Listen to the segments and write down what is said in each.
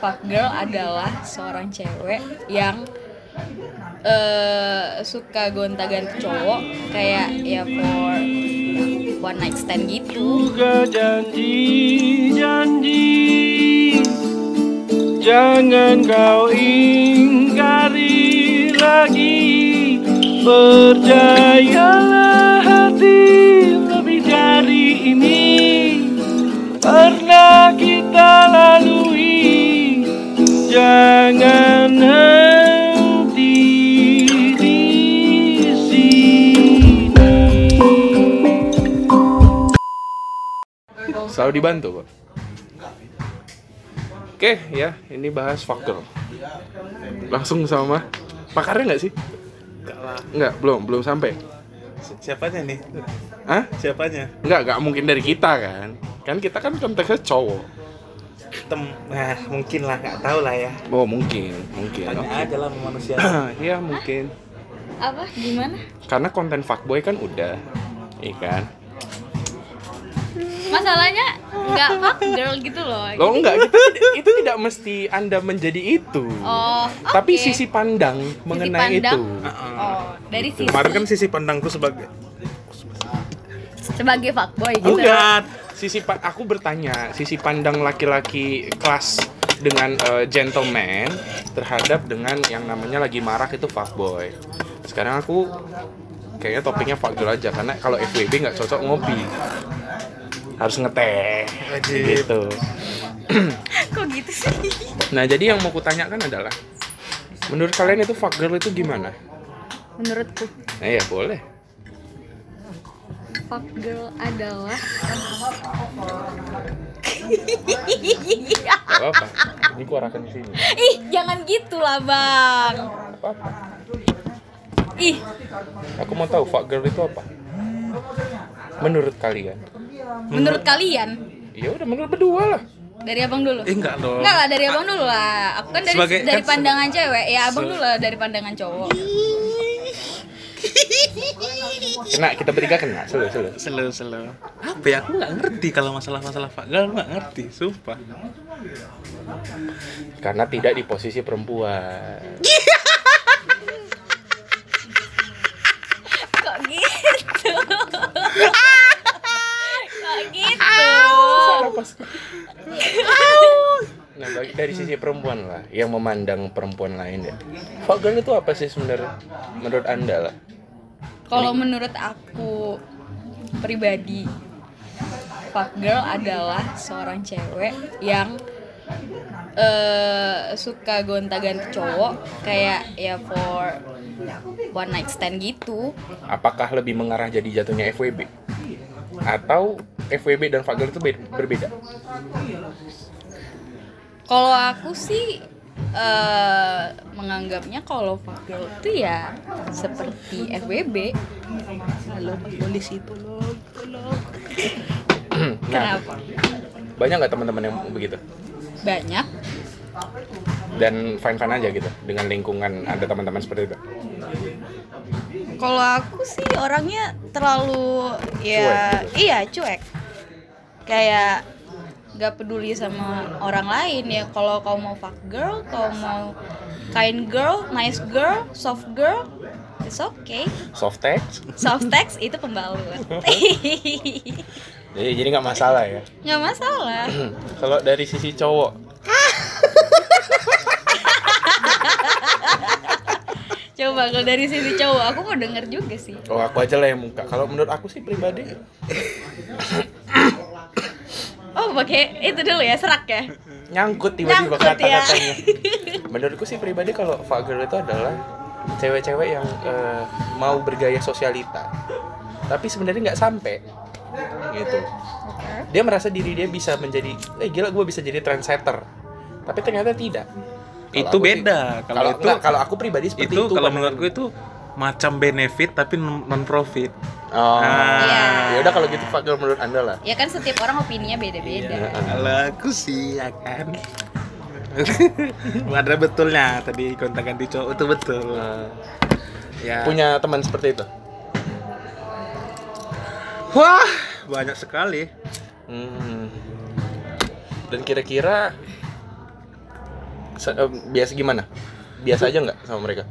Fuck girl adalah seorang cewek yang eh suka gonta-ganti cowok kayak ya for one night stand gitu. juga janji janji jangan kau ingkari lagi percayalah hati lebih dari ini pernah kita lalui jangan henti di sini selalu dibantu kok. Oke ya, ini bahas faktor. Langsung sama pakarnya nggak sih? Enggak lah. Nggak, belum, belum sampai. Si- Siapanya nih? Hah? Siapanya? Nggak, nggak mungkin dari kita kan? Kan kita kan konteksnya cowok. Tem nah, mungkin lah nggak tahu lah ya. Oh mungkin, mungkin. Tanya Oke. aja lah sama manusia. Iya mungkin. Apa? Gimana? Karena konten fuckboy kan udah, iya kan? Masalahnya nggak fuck girl gitu loh. Loh enggak, itu, itu tidak mesti Anda menjadi itu. Oh, Tapi oke. sisi pandang mengenai pandang. itu. Oh, Iya. dari sisi Kemarin kan sisi pandangku sebagai Oh, sebagai fuckboy gitu. Bukan. sisi pa- aku bertanya sisi pandang laki-laki kelas dengan eh, gentleman terhadap dengan yang namanya lagi marak itu fuckboy sekarang aku kayaknya topiknya fuckgirl aja karena kalau FWB nggak cocok ngopi harus ngeteh Wajib. gitu Kok gitu sih? nah jadi yang mau kutanyakan adalah menurut kalian itu fuckgirl itu gimana Menurutku nah ya boleh fuck girl adalah Gak apa-apa ini kuarakan di sini Ih, jangan gitu lah, Bang. Gak apa-apa Ih, aku mau tahu fuckgirl itu apa menurut kalian menurut kalian Ya udah menurut berdua lah. dari Abang dulu. Eh enggak dong. Enggak lah dari abang dulu lah. Aku kan dari Sebagai- dari kan se- pandangan cewek. Ya abang dulu lah dari pandangan cowok. Kena kita bertiga kena, selalu selalu. Selo selo. Apa ya? Aku nggak ngerti kalau masalah-masalah Pak Gal nggak ngerti, sumpah. Karena tidak di posisi perempuan. Kok gitu? Kok gitu? Nah, bagi- dari sisi perempuan lah, yang memandang perempuan lain ya. Fuck girl itu apa sih sebenarnya? Menurut Anda lah. Kalau menurut aku pribadi fuck girl adalah seorang cewek yang eh suka gonta-ganti cowok kayak ya for one night stand gitu. Apakah lebih mengarah jadi jatuhnya FWB? Atau FWB dan fuck girl itu be- berbeda? Kalau aku sih eh menganggapnya kalau fuck girl itu ya seperti FWB. Halo polisi tolong, tolong. nah, Kenapa? banyak nggak teman-teman yang begitu? Banyak. Dan fine-fine aja gitu dengan lingkungan ada teman-teman seperti itu. Kalau aku sih orangnya terlalu ya Cuek gitu. iya cuek. Kayak gak peduli sama orang lain ya kalau kau mau fuck girl, kau mau kind girl, nice girl, soft girl, it's okay. Soft text, Soft text itu pembalut. jadi jadi nggak masalah ya. nggak masalah Kalau dari sisi cowok, coba kalau dari sisi cowok aku mau denger juga sih oh aku aja lah yang muka. Kalau menurut aku sih pribadi, oh pakai itu dulu ya serak ya nyangkut tiba-tiba Nyangkut ya. kata-katanya. Menurutku sih pribadi kalau fuck girl itu adalah cewek-cewek yang eh, mau bergaya sosialita, tapi sebenarnya nggak sampai gitu. Dia merasa diri dia bisa menjadi, eh gila gue bisa jadi trendsetter, tapi ternyata tidak. Kalau Itu aku sih- beda. Kalau Kalau itu- nggak, kalau aku pribadi seperti Itu itu. kan. kalau pandangan- menurutku itu macam benefit tapi non profit. Oh. Ya Iya. udah kalau gitu fuck girl menurut anda lah. ya kan setiap orang opininya beda-beda Ya, Iya. Kalau aku sih ya kan. Ada betulnya tadi kontak ganti cowok itu betul. Ya. Punya teman seperti itu. Wah, banyak sekali. Hmm. Dan kira-kira se- eh, biasa gimana? Biasa aja nggak sama mereka?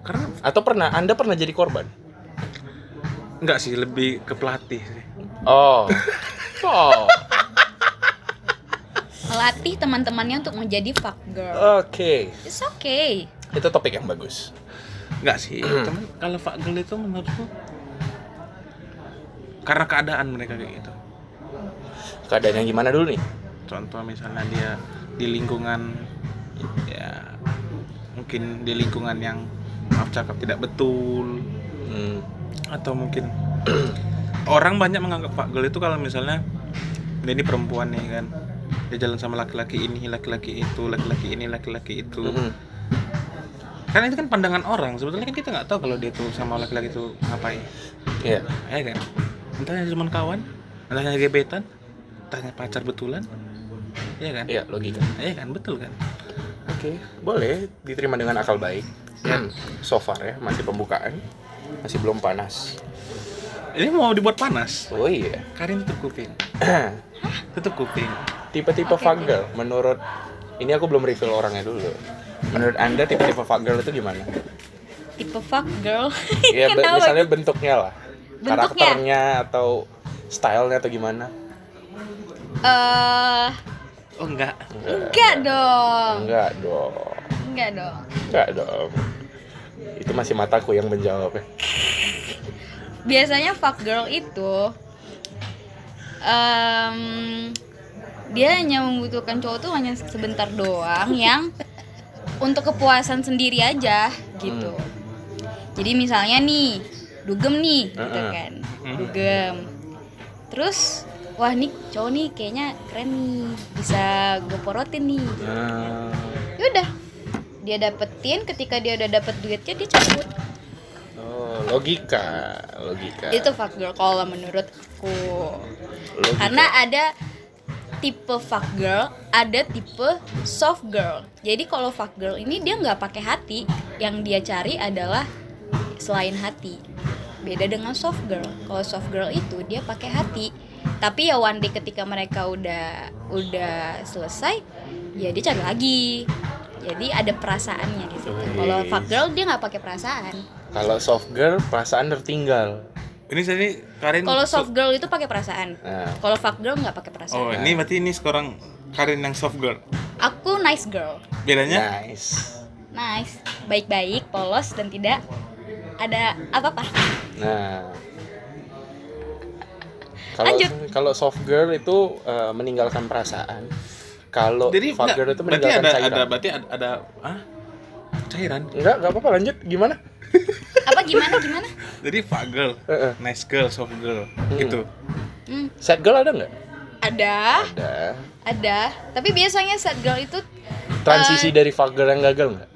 Karena Atau pernah Anda pernah jadi korban? enggak sih lebih ke pelatih sih. Oh. Oh. Melatih teman-temannya untuk menjadi fuck girl. Oke. It's okay. Itu topik yang bagus. Enggak sih, cuman kalau Fagel itu menurutku karena keadaan mereka kayak gitu. Keadaan yang gimana dulu nih? Contoh misalnya dia di lingkungan ya mungkin di lingkungan yang maaf cakap tidak betul Hmm. atau mungkin orang banyak menganggap Fagel itu kalau misalnya dia ini perempuan nih kan dia jalan sama laki-laki ini, laki-laki itu, laki-laki ini, laki-laki itu. Mhm. Karena itu kan pandangan orang. Sebetulnya kan kita nggak tahu kalau dia tuh sama laki-laki itu ngapain. Iya. ya kan entahnya cuma kawan entahnya gebetan entahnya pacar betulan ya kan Iya, logika. Iya kan betul kan Oke, boleh diterima dengan akal baik. so far ya, masih pembukaan. Masih belum panas. ini mau dibuat panas Oh iya. Karin tutup kuping tutup kuping Tipe-tipe fagel menurut ini aku belum reveal orangnya dulu. Menurut Anda tipe-tipe fagel itu gimana? Tipe fuck girl. Ya be- Kenapa? misalnya bentuknya lah. Bentuknya? Karakternya atau stylenya atau gimana? Eh, oh enggak enggak dong. Enggak dong. Enggak dong. Enggak dong. Itu masih mataku yang menjawab ya. Biasanya fuck girl itu em, dia hanya membutuhkan cowok tuh hanya sebentar doang yang untuk kepuasan sendiri aja gitu. Jadi misalnya nih, dugem nih gitu Mm-mm. kan. Dugem. Terus wah nih cowok nih kayaknya keren nih, bisa gue porotin nih. Ah. Nah, Yaudah, dia dapetin ketika dia udah dapet duitnya dia cabut. oh, logika, logika. Itu fuck girl kalau menurutku. Logika. Karena ada tipe fuck girl, ada tipe soft girl. Jadi kalau fuck girl ini dia nggak pakai hati, yang dia cari adalah selain hati. Beda dengan soft girl. Kalau soft girl itu dia pakai hati. Tapi ya one day ketika mereka udah udah selesai, ya dia cari lagi. Jadi ada perasaannya di situ. Kalau fuck girl dia nggak pakai perasaan. Kalau soft girl perasaan tertinggal. ini jadi Karin Kalau soft girl itu pakai perasaan. Nah, Kalau fuck girl nggak pakai perasaan. oh ini berarti ini sekarang Karin yang soft girl Aku nice girl. Ya, bedanya Ya. nice. Nice, baik-baik, polos dan tidak ada apa-apa. Nah. Kalau Lanjut. kalau soft girl itu eh, meninggalkan perasaan. Kalau jadi soft enggak, girl itu berarti meninggalkan ada cairan. ada berarti ada, ada ah cairan Enggak, enggak apa-apa lanjut. Gimana? Apa gimana gimana? jadi fat girl Heeh. nice girl soft girl gitu Hmm, Sad girl ada nggak? ada, Ada. ada. Tapi biasanya sad girl itu Transisi dari fuck girl yang gagal nggak?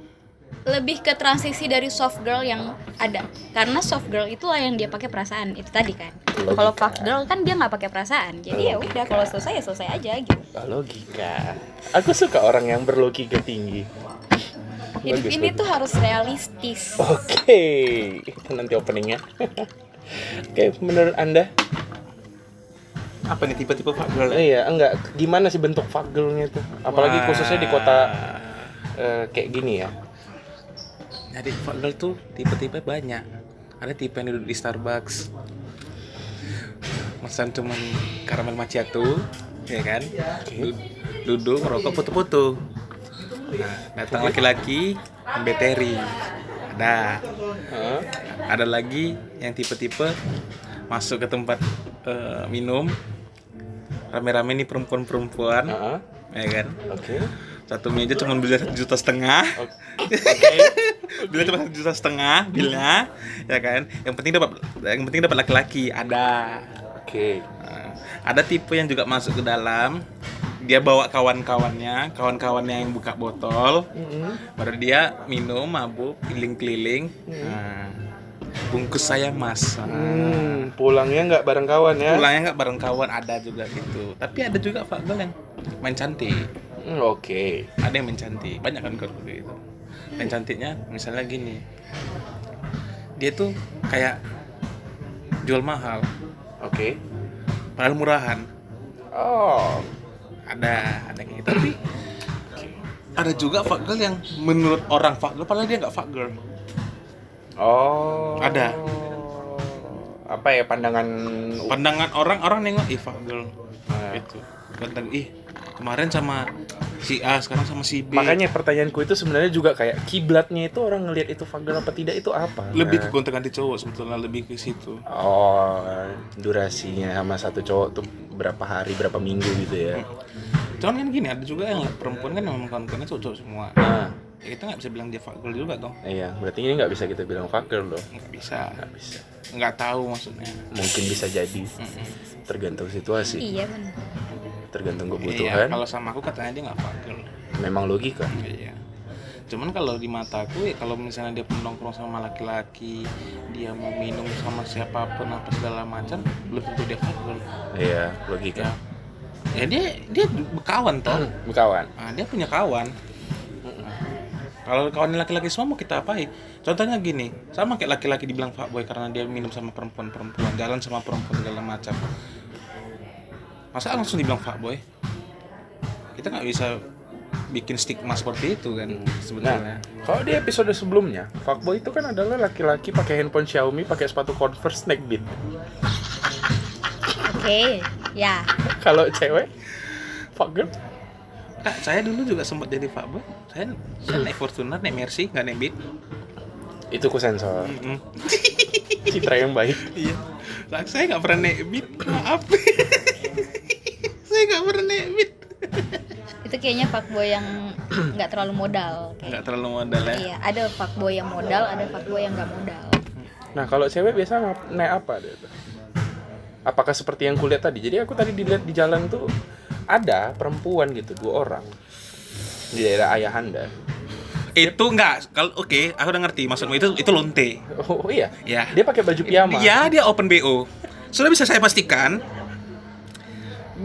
lebih ke transisi dari soft girl yang ada. Karena soft girl itulah yang dia pakai perasaan itu tadi kan. Logika. Kalau fuck girl kan dia nggak pakai perasaan. Jadi ya udah kalau selesai ya selesai aja gitu. Ah, logika. Aku suka orang yang berlogika tinggi. Hidup Bagus, ini bagus. tuh harus realistis. Oke, itu nanti openingnya. Oke, menurut anda? apa nih tipe-tipe fat girl Eh, Iya, enggak. Gimana sih bentuk fagelnya tuh? Apalagi Wah. khususnya di kota eh, kayak gini ya. Jadi Fagel tuh tipe-tipe banyak. Ada tipe yang duduk di Starbucks. Pesan cuman karamel macchiato, ya kan? Du- Duduk merokok foto-foto. Nah, datang laki-laki ambil teri. Ada. Hah? Ada lagi yang tipe-tipe masuk ke tempat eh, minum rame-rame nih perempuan-perempuan, Heeh. ya kan? Oke. Satu meja cuma bisa satu juta setengah. Oke. Bila cuma satu juta setengah, bila ya kan. Yang penting dapat, yang penting dapat laki-laki ada. Oke. Nah, Ada tipe yang juga masuk ke dalam. Dia bawa kawan-kawannya, kawan-kawannya yang buka botol. Hmm. Baru dia minum, mabuk, keliling-keliling. Nah, bungkus saya mas. Hmm. Nah, Hmm, pulangnya nggak bareng kawan ya? Pulangnya nggak bareng kawan ada juga gitu. Tapi ada juga faktor yang main cantik. Hmm, Oke. ada yang mencantik banyak kan kalau gitu yang cantiknya misalnya gini dia tuh kayak jual mahal Oke. padahal murahan Oh. ada ada kayak gitu tapi ada juga fuck girl yang menurut orang fuck girl padahal dia nggak fuck girl Oh. Ada. Apa ya pandangan pandangan orang orang nengok ih fuck girl Ah. gitu kadang ih kemarin sama si A sekarang sama si B Makanya pertanyaanku itu sebenarnya juga kayak kiblatnya itu orang ngelihat itu fuck girl apa tidak itu apa? lebih ke gonta ganti cowok sebetulnya lebih ke situ Oh, durasinya sama satu cowok tuh berapa hari, berapa minggu gitu ya. cuman kan gini ada juga yang perempuan kan memang kawan-kawannya cowok-cowok semua Nah, ya kita nggak bisa bilang dia fuck girl juga dong iya, berarti ini nggak bisa kita bilang fuck girl loh. nggak bisa Nggak bisa. nggak tahu maksudnya Mungkin bisa jadi. Tergantung situasi, Iya benar. tergantung iya kebutuhan, kalau sama aku katanya dia nggak fuck girl memang logika. iya cuman kalau di mataku ya kalau misalnya dia penongkrong sama laki-laki dia mau minum sama siapapun apa segala macam belum tentu dia fuck girl Iya, ya logika. ya dia dia berkawan toh Kawan. Nah, dia punya kawan. Nah, Kalau kawan laki-laki semua mau kita apain? Contohnya gini, sama kayak laki-laki dibilang fuckboy karena dia minum sama perempuan-perempuan, jalan sama perempuan segala macam. Masa langsung dibilang fuckboy? Kita nggak bisa bikin stigma seperti itu kan sebetulnya. Nah, kalau di episode sebelumnya, fuckboy itu kan adalah laki-laki pakai handphone Xiaomi, pakai sepatu Converse snack beat. Oke, ya. Kalau cewek, fuckgirl, Kak, saya dulu juga sempat jadi fuckboy. Saya, saya naik Fortuner, naik Mercy, nggak naik Beat. itu ku sensor. Mm-mm. Citra yang baik. Iya. Lah, saya nggak pernah naik Beat. Maaf. saya nggak pernah naik Beat. Itu kayaknya fuckboy yang nggak terlalu modal. kayak. Nggak terlalu modal ya. Iya, ada fuckboy yang modal, ada fuckboy yang nggak modal. Nah, kalau cewek biasa ngap- naik apa dia tuh? Apakah seperti yang kulihat tadi? Jadi aku tadi dilihat di jalan tuh ada perempuan gitu, dua orang di daerah Ayahanda. itu enggak kalau oke aku udah ngerti maksudmu itu itu lonte Oh iya, Ya. dia pakai baju piyama. ya dia open bo sudah bisa saya pastikan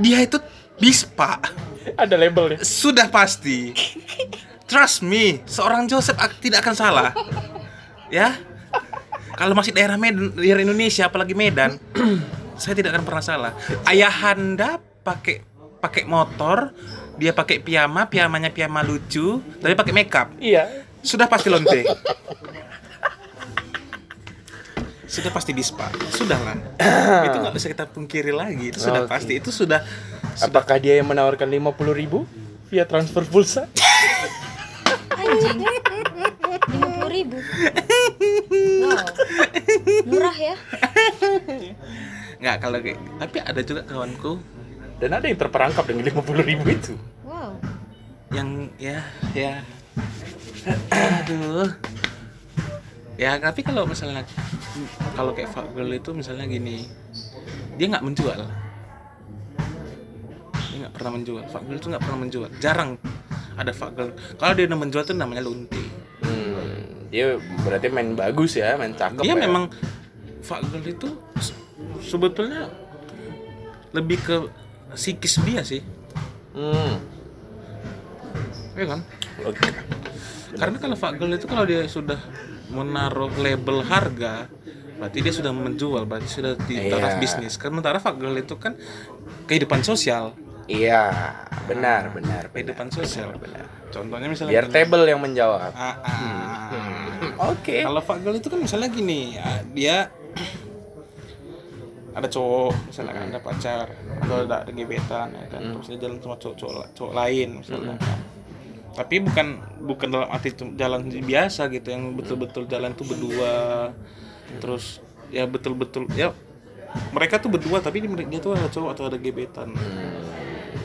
dia itu bispa Ada labelnya. sudah pasti trust me seorang Joseph ak- tidak akan salah ya kalau masih daerah Medan daerah Indonesia apalagi Medan saya tidak akan pernah salah ayahanda pakai pakai motor dia pakai piyama piyamanya piyama lucu tapi pakai makeup Iya. sudah pasti lonte. sudah pasti bispa. Sudahlah. itu nggak bisa kita pungkiri lagi. Itu sudah Oke. pasti. Itu sudah Apakah dia yang menawarkan 50.000 via transfer pulsa? Anjing. Lima puluh ribu. Wow. Murah ya. nggak kalau kayak. Tapi ada juga kawanku Dan ada yang terperangkap dengan 50.000 itu. Wow. yang ya ya. Aduh. Ya tapi kalau misalnya kalau kayak fuck girl itu misalnya gini, dia nggak menjual. Dia nggak pernah menjual. Fuck girl itu nggak pernah menjual. Jarang ada fuck girl. Kalau dia udah menjual itu namanya lunti. Hmm, dia berarti main bagus ya, main cakep. dia ya. memang fuck girl itu se- sebetulnya lebih ke psikis dia sih, Hmm. ya kan? Oke. Karena kalau fuck girl itu kalau dia sudah menaruh label harga, berarti dia sudah menjual, berarti sudah di Iya. taraf bisnis. Karena taraf fuck girl itu kan kehidupan sosial, Iya, benar, benar, Iya, benar. kehidupan sosial. Contohnya misalnya Biar Hmm. gini. table yang menjawab. Ah, ah. Oke. Kalau fuck girl itu kan misalnya gini, ah, dia ada cowok misalnya kan ada pacar atau ada, ada gebetan ya kan terus dia jalan sama cowok cowok, la- cowok lain misalnya kan. tapi bukan bukan dalam arti cum- jalan biasa gitu yang betul-betul jalan tuh berdua terus ya betul-betul ya mereka tuh berdua tapi di- dia tuh ada cowok atau ada gebetan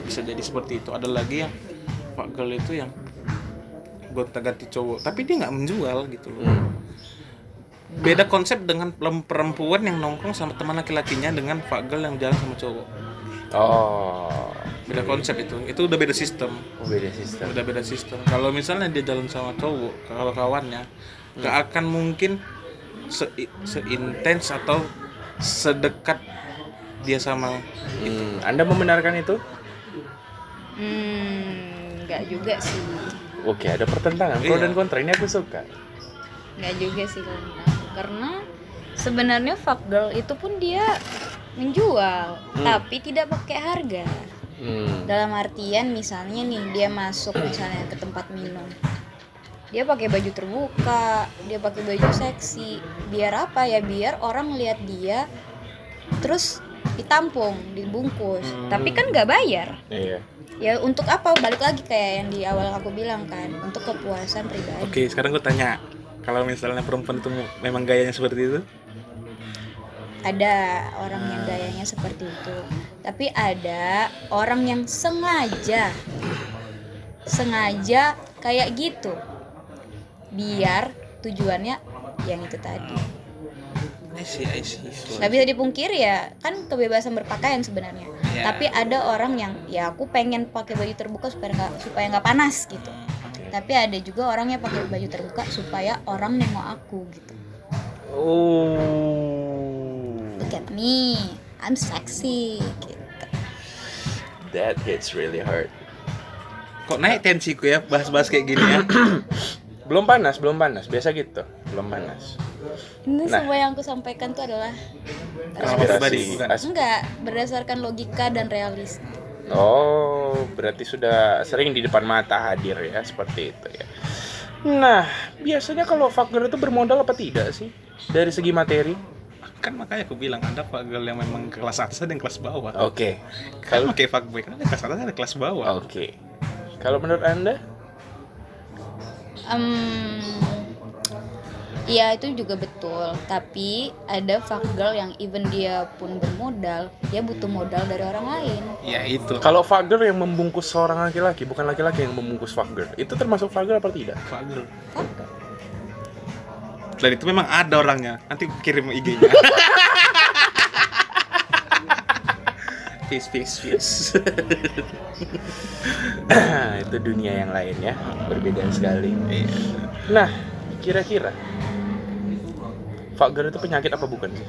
bisa jadi seperti itu ada lagi yang pak girl itu yang gonta ganti cowok tapi dia nggak menjual gitu loh beda konsep dengan lem- perempuan yang nongkrong sama teman laki-lakinya dengan fuck girl yang jalan sama cowok Oh, beda konsep itu itu udah beda sistem oh, beda sistem. udah beda sistem kalau misalnya dia jalan sama cowok kalau kawannya nggak akan mungkin se seintens atau sedekat dia sama Hmm, Anda membenarkan itu? Hmm, nggak juga sih. Oke, ada pertentangan pro Iya. dan kontra. Ini aku suka. Nggak juga sih kalau menurut aku. karena sebenarnya fuck girl itu pun dia menjual, tapi tidak pakai harga. Hmm. Dalam artian misalnya nih dia masuk misalnya ke tempat minum. Dia pakai baju terbuka, dia pakai baju seksi. Biar apa ya? Biar orang lihat dia terus ditampung, dibungkus. Tapi kan nggak bayar. Iya. Ya untuk apa? Balik lagi kayak yang di awal aku bilang kan, untuk kepuasan pribadi. Oke, sekarang gue tanya, kalau misalnya perempuan itu memang gayanya seperti itu, ada orang yang gayanya seperti itu tapi ada orang yang sengaja sengaja kayak gitu biar tujuannya yang itu tadi I see, I see. nggak bisa dipungkiri ya kan kebebasan berpakaian sebenarnya Ya. tapi ada orang yang ya aku pengen pakai baju terbuka supaya nggak supaya nggak panas gitu tapi ada juga orang yang pakai baju terbuka supaya orang nengok aku gitu Oh. look at me I'm sexy gitu That hits really hard. Kok naik tensiku ya bahas-bahas kayak gini ya? Belum panas, belum panas. Biasa gitu. Belum panas. Ini Nah. semua yang aku sampaikan tuh adalah Pengalaman pribadi, bukan? As- enggak berdasarkan logika dan realis. Oh, berarti sudah sering di depan mata hadir ya, seperti itu ya. Nah, biasanya kalau fucker itu bermodal apa tidak sih? Dari segi materi? kan makanya aku bilang ada pak girl yang memang kelas atas ada yang kelas bawah. Oke. Kalau Iya. Kalau pakai fuckboy kan ada kelas atas ada kelas bawah. Oke. Kalau menurut Anda? Em, Iya itu juga betul, tapi ada fuck girl yang even dia pun bermodal, dia butuh modal dari orang lain. Oh. Ya itu. Kalau Kalau fucker yang membungkus seorang laki-laki, bukan laki-laki yang membungkus fucker, itu termasuk fucker apa tidak? fuck girl. Fuck girl. Selain itu memang ada orangnya. Nanti kirim IG-nya. Peace, peace, peace. itu dunia yang lain ya, berbeda sekali. Nah, kira-kira fucker itu penyakit apa bukan sih?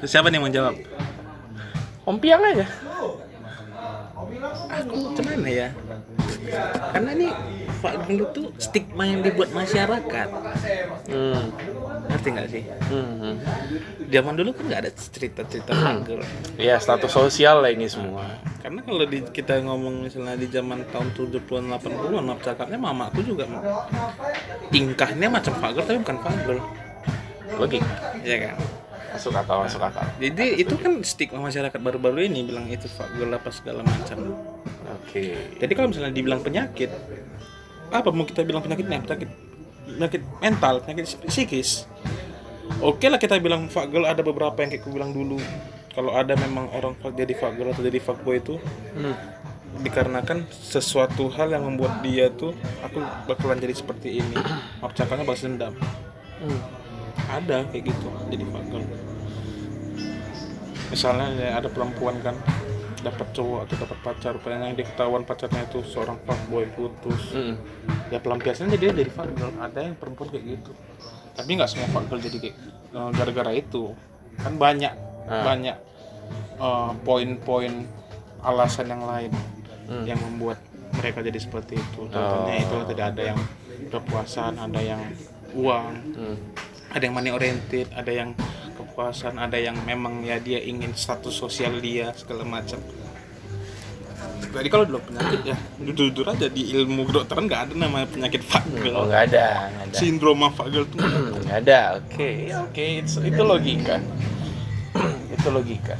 Terus Siapa nih yang mau jawab? Om Piang aja. Cuman ya. Karena ini fuck girl itu stigma yang dibuat masyarakat. Hmm. Ngerti nggak sih? Hmm. Zaman dulu kan nggak ada cerita-cerita fuck girl. Ya, status sosial lah ini semua. Karena kalau di, kita ngomong misalnya di zaman tahun 70-an 80-an maaf cakapnya mamaku juga tingkahnya macam pagar tapi bukan pagar. Logik. Ya kan. Masuk akal, masuk akal. Jadi itu kan stigma masyarakat baru-baru ini bilang itu pagar apa segala macam. Oke. Jadi kalau misalnya dibilang penyakit apa mau kita bilang penyakitnya? Penyakit penyakit mental, penyakit psikis. Oke lah kita bilang fagel ada beberapa yang kayak aku bilang dulu. Kalau ada memang orang fuck- jadi fagel atau jadi fuckboy itu Hmm. dikarenakan sesuatu hal yang membuat dia tuh aku bakalan jadi seperti ini maaf cakapnya balas dendam Hmm. ada kayak gitu jadi fucker misalnya ya, ada perempuan kan dapat cowok atau dapat pacar pengen dia ketahuan pacarnya itu seorang fuckboy putus Hmm. ya pelampiasannya dia dari fuckgirl ada yang perempuan kayak gitu tapi nggak semua fuckgirl jadi kayak eh, gara-gara itu kan banyak Ah. banyak eh, poin-poin alasan yang lain Hmm. Oh. yang membuat mereka jadi seperti itu contohnya itu tadi ada yang kepuasan ada yang uang Hmm. ada yang money oriented ada yang kepuasan ada yang memang ya dia ingin status sosial dia segala macam jadi kalau dulu penyakit ya jujur aja di ilmu kedokteran nggak ada namanya penyakit fagel Oh, nggak ada, nggak ada. sindroma fagel tuh nggak ada. Hmm, nggak ada. Oke, ya oke, it's- itu logika. itu logika.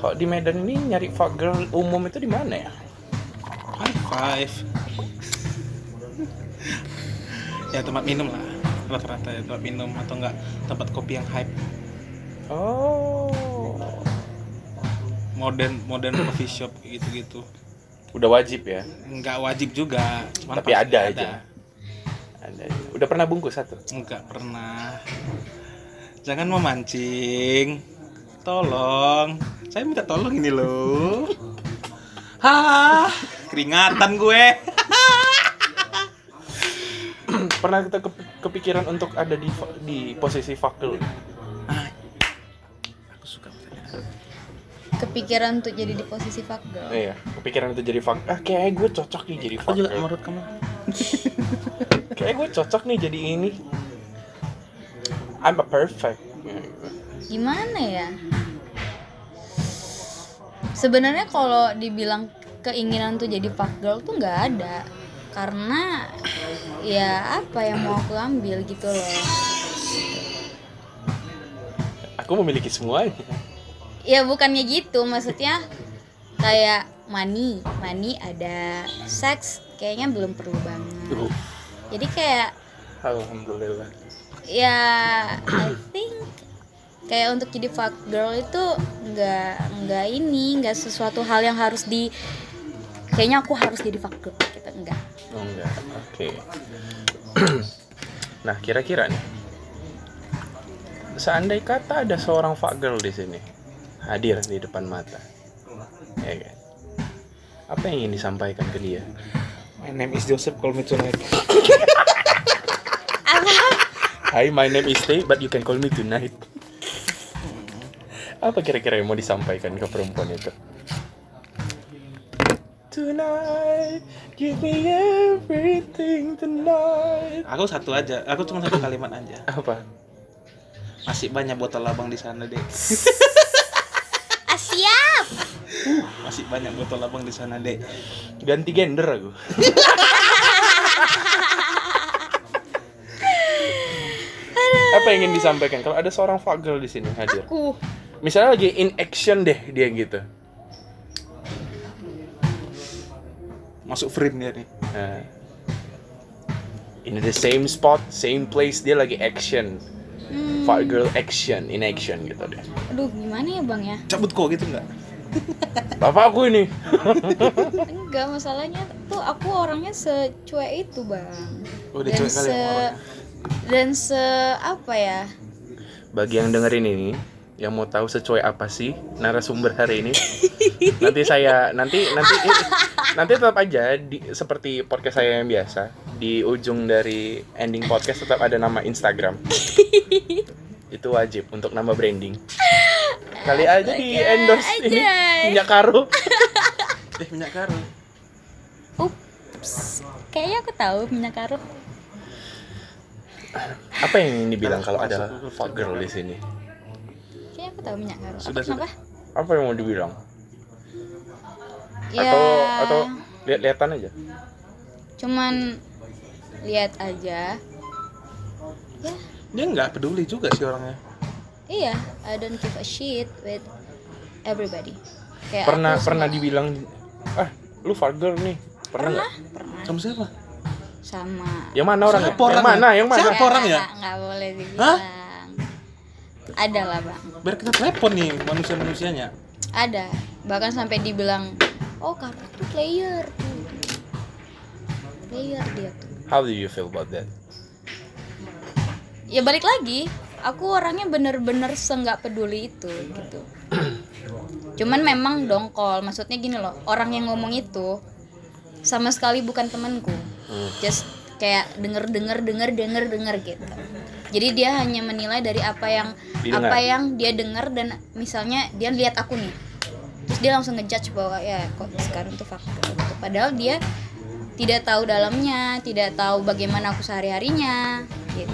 Kalau di Medan ini nyari fuck girl umum itu di mana ya? high five ya tempat minum lah rata-rata ya tempat minum atau enggak tempat kopi yang hype Oh, modern modern coffee shop gitu-gitu udah wajib ya. nggak wajib juga cuman Tapi pasti ada aja. Ada. Udah pernah bungkus satu? nggak pernah jangan memancing tolong saya minta tolong ini loh Hah, keringatan gue Hmm, pernah kita ke- kepikiran untuk ada di fa- di posisi fuck girl? Ah, aku suka pertanyaan. Kepikiran untuk jadi di posisi fuck girl. Iya, kepikiran itu jadi fuck. Ah, kayaknya gue cocok nih jadi aku fuck juga girl. menurut kamu Kayaknya gue cocok nih jadi ini. I'm a perfect. gimana ya sebenarnya kalau dibilang keinginan tuh jadi fuck girl tuh nggak ada karena ya apa yang mau aku ambil gitu loh Aku memiliki semuanya. ya bukannya gitu maksudnya kayak money money ada seks kayaknya belum perlu banget Uh, jadi kayak Alhamdulillah. ya I think kayak untuk jadi fuck girl itu nggak nggak ini nggak sesuatu hal yang harus di kayaknya aku harus jadi fuck girl gitu, kita enggak Oh enggak. Oke. nah, kira-kira nih. Seandai kata ada seorang fuck girl di sini hadir di depan mata. Ya kan? Apa yang ingin disampaikan ke dia? My name is Joseph, call me tonight. Hi, my name is Tay, but you can call me tonight. Apa kira-kira yang mau disampaikan ke perempuan itu? Tonight, give me everything tonight. Aku satu aja, aku cuma satu kalimat aja. Apa? Masih banyak botol abang di sana, Dek. ah siap Masih banyak botol abang di sana, Dek. Ganti gender aku. Apa yang ingin disampaikan? Kalau ada seorang fuck girl di sini hadir, aku misalnya lagi in action deh dia gitu. Masuk frame dia nih. Nah, in the same spot, same place dia lagi action. Hmm, Fat girl action, in action gitu deh. aduh gimana ya bang ya Cabut kok gitu enggak? Bapak aku ini. enggak masalahnya tuh aku orangnya secuek itu bang Oh, dia dan cuek kali se ya orangnya. dan se apa ya Bagi yang dengerin ini, yang mau tahu sesuai apa sih narasumber hari ini, nanti saya nanti nanti nanti tetap aja di, seperti podcast saya yang biasa di ujung dari ending podcast tetap ada nama Instagram. Itu wajib untuk nama branding. Kali aja di endorse ini minyak karu. Eh, minyak karu. ups kayaknya aku tahu minyak karuh Apa yang ingin dibilang kalau ada fuck girl di sini? kayaknya aku tahu minyak karuh Sudah, Apa, kenapa? sudah. Apa yang mau dibilang? ya Atau atau lihat-lihatan aja. cuman lihat aja ya Dia nggak peduli juga sih orangnya. iya I don't give a shit with everybody kayak pernah aku pernah suka- dibilang ah lu vulgar nih pernah nggak pernah Kamu siapa? sama yang mana orangnya Siapa yang orangnya? mana yang mana Siapa? orang ya? Nggak- nggak boleh dibilang ada lah bang Biar kita telepon nih manusia-manusianya. ada bahkan sampai dibilang oh kakak tuh player tuh player dia tuh how do you feel about that ya balik lagi aku orangnya bener-bener senggak peduli itu gitu cuman memang dongkol maksudnya gini loh orang yang ngomong itu sama sekali bukan temanku just kayak denger denger denger denger denger gitu jadi dia hanya menilai dari apa yang Didengar. apa yang dia dengar dan misalnya dia lihat aku nih terus dia langsung ngejudge bahwa ya kok sekarang tuh fakta gitu. padahal dia tidak tahu dalamnya tidak tahu bagaimana aku sehari harinya gitu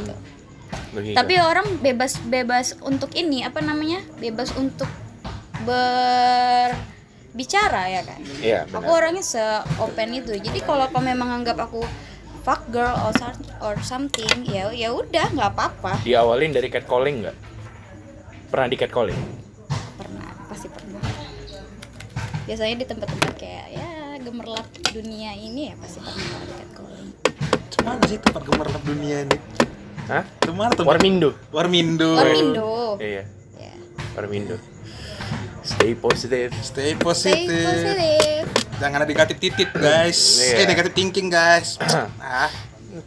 Logika. tapi orang bebas bebas untuk ini apa namanya bebas untuk berbicara ya kan iya aku benar orangnya se open itu jadi kalau kau memang anggap aku fuck girl or, some- or something ya ya udah nggak apa-apa diawalin dari catcalling nggak pernah di catcalling pernah pasti pernah biasanya di tempat-tempat kayak ya gemerlap dunia ini ya pasti pernah ada catcalling Cuman sih tempat gemerlap dunia ini. Hah? Cuman tempat Warmindo Warmindo. Warmindo iya ya Warmindo stay positive Stay stay positive. positive Jangan ada negatif titit, guys. Iya. Eh, negatif thinking, guys. apa ah,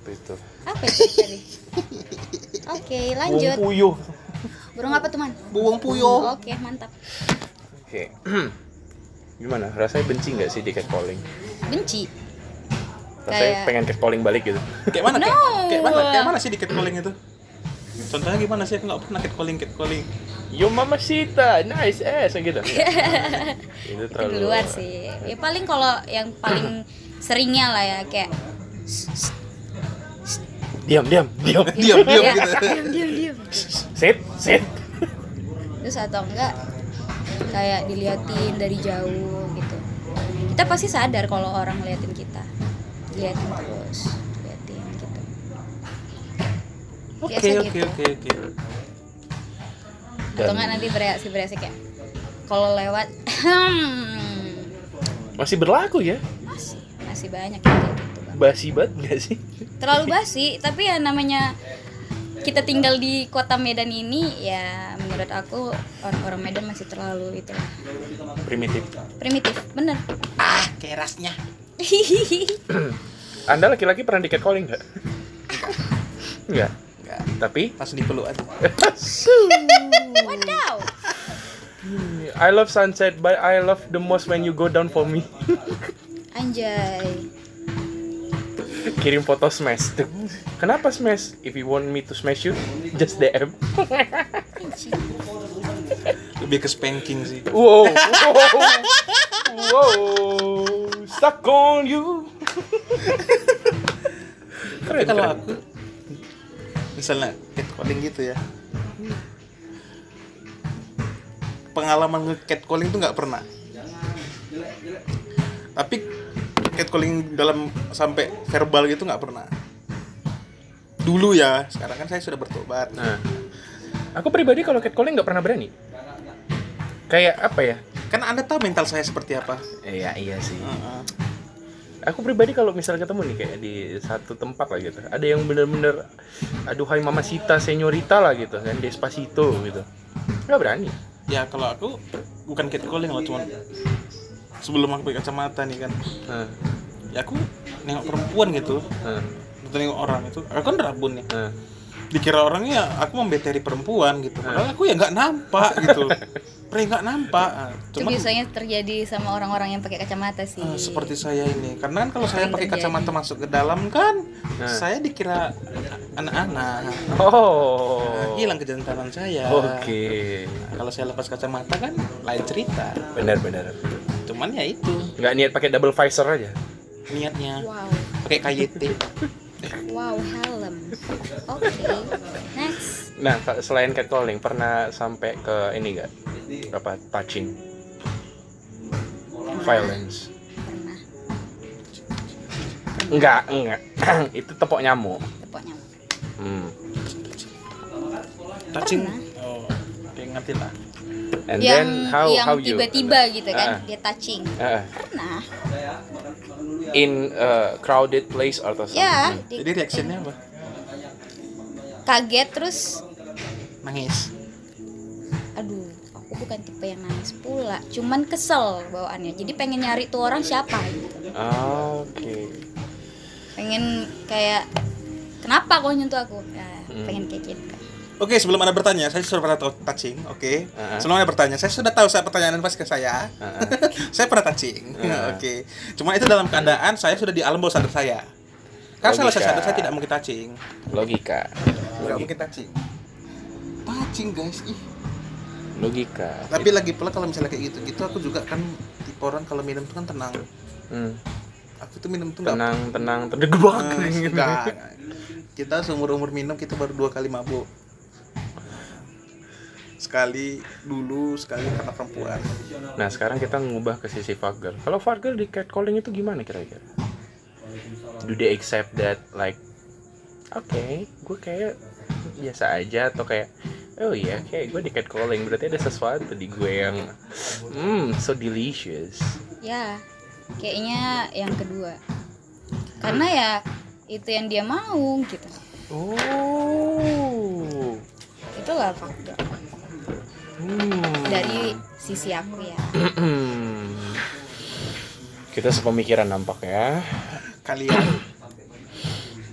itu apa itu tadi oke lanjut puyuh burung apa tuh man buang puyuh. oke mantap oke gimana rasanya benci nggak sih di catcalling benci rasanya Kayak- pengen catcalling balik gitu Kayak mana? Kayak, No. kayak mana? Kayak mana sih di catcalling itu? Contohnya gimana sih? Aku nggak pernah catcalling, catcalling. yo mama sita nice ass gitu itu itu di luar sih ya paling kalau yang paling seringnya lah ya kayak diam diam diam Diam, diam ya, gitu. diam diam diam Sip, sip. terus atau enggak kayak diliatin dari jauh gitu kita pasti sadar kalau orang ngeliatin kita liatin terus liatin gitu Oke Biasa oke gitu. oke oke. atau Dan- enggak nanti bereaksi bereaksi kayak kalau lewat hmm, Masih berlaku ya? masih masih banyak yang kayak gitu Bang. Basi banget nggak sih? terlalu basi tapi ya namanya kita tinggal di kota Medan ini ya menurut aku orang-orang Medan masih terlalu itu Primitif. primitif bener Ah kerasnya. Anda laki-laki pernah di catcalling nggak? Nggak. Enggak. Tapi Pas dipeluk aja. wadaw I love sunset, but I love the most when you go down for me. anjay Kirim foto smash tuh. Kenapa smash? If you want me to smash you, just DM. anjing Lebih ke spanking sih. Wow, wow, wow, stuck on you. Tapi keren, kalau keren. aku misalnya catcalling gitu ya. Pengalaman nge-catcalling tuh nggak pernah. Tapi catcalling dalam sampai verbal gitu nggak pernah. Dulu ya, sekarang kan saya sudah bertobat. Nah, aku pribadi kalau catcalling nggak pernah berani. Kayak apa ya? Kan Anda tahu mental saya seperti apa. Iya iya sih. Heeh. Aku pribadi kalau misalnya ketemu nih kayak di satu tempat lah gitu, ada yang bener-bener, aduhai mamacita, senyorita lah gitu kan, despacito gitu, nggak berani. Ya kalau aku bukan catcalling lah cuman sebelum aku pakai kacamata nih kan. Nah, Ya aku nengok perempuan gitu, nah, atau nengok orang itu. Aku kan rabun ya. nah. dikira orangnya aku membeteri perempuan gitu padahal aku ya nggak nampak gitu Pre nggak nampak Ah, itu cuman biasanya terjadi sama orang-orang yang pakai kacamata sih ah, seperti saya ini karena kan kalau saya Sering pakai terjadi. kacamata masuk ke dalam kan Nah. saya dikira anak-anak Nah, Oh, hilang kejantanan saya Oke, Nah, kalau saya lepas kacamata kan lain cerita benar-benar. cuman ya itu Nggak niat pakai double visor aja. niatnya wow pakai KYT wow helm oke next Nah, ka- selain catcalling, pernah sampai ke ini nggak? Apa touching? Violence? pernah Enggak, enggak. Itu tepok nyamuk. tepok nyamuk Hmm. touching Pernah. oh oke, ngerti lah And yang then how yang how you? tiba-tiba gitu kan Ah. dia touching Ah, pernah in a crowded place atau ya something. di- jadi reaksinya apa kaget terus nangis aduh aku bukan tipe yang nangis pula cuman kesel bawaannya jadi pengen nyari tuh orang siapa gitu Ah, Oke. pengen kayak kenapa kau nyentuh aku ya, Hmm. pengen kayak gitu Oke, sebelum Anda bertanya, saya sudah pernah tahu touching. Oke. Uh-uh. Sebelum Anda bertanya, saya sudah tahu saya pertanyaan pas ke saya. Uh-uh. saya pernah touching. Uh-uh. Oke. Cuma itu dalam keadaan saya sudah di alam bawah sadar saya. Karena salah saya Logika. sadar saya tidak mungkin touching. Logika. Tidak mungkin touching. Touching, guys. Ih. Logika. Tapi lagi pula kalau misalnya kayak gitu-gitu aku juga kan tipe orang kalau minum tuh kan tenang. Hmm. Aku tuh minum tuh nggak- Tenang, tenang, terdegebak. Eh, nggak. Kita seumur-umur minum kita baru dua kali mabuk. Sekali dulu, sekali karena perempuan. Nah, sekarang kita ngubah ke sisi Fagel. Kalau Fagel di catcalling itu gimana kira-kira? Do they accept that like oke, gue kayak biasa aja atau kayak oh iya kayak gue di catcalling berarti ada sesuatu di gue yang hmm so delicious. ya kayaknya yang kedua karena ya itu yang dia mau gitu Oh. itulah faktor Hmm. dari sisi aku ya kita sepemikiran nampaknya. Kalian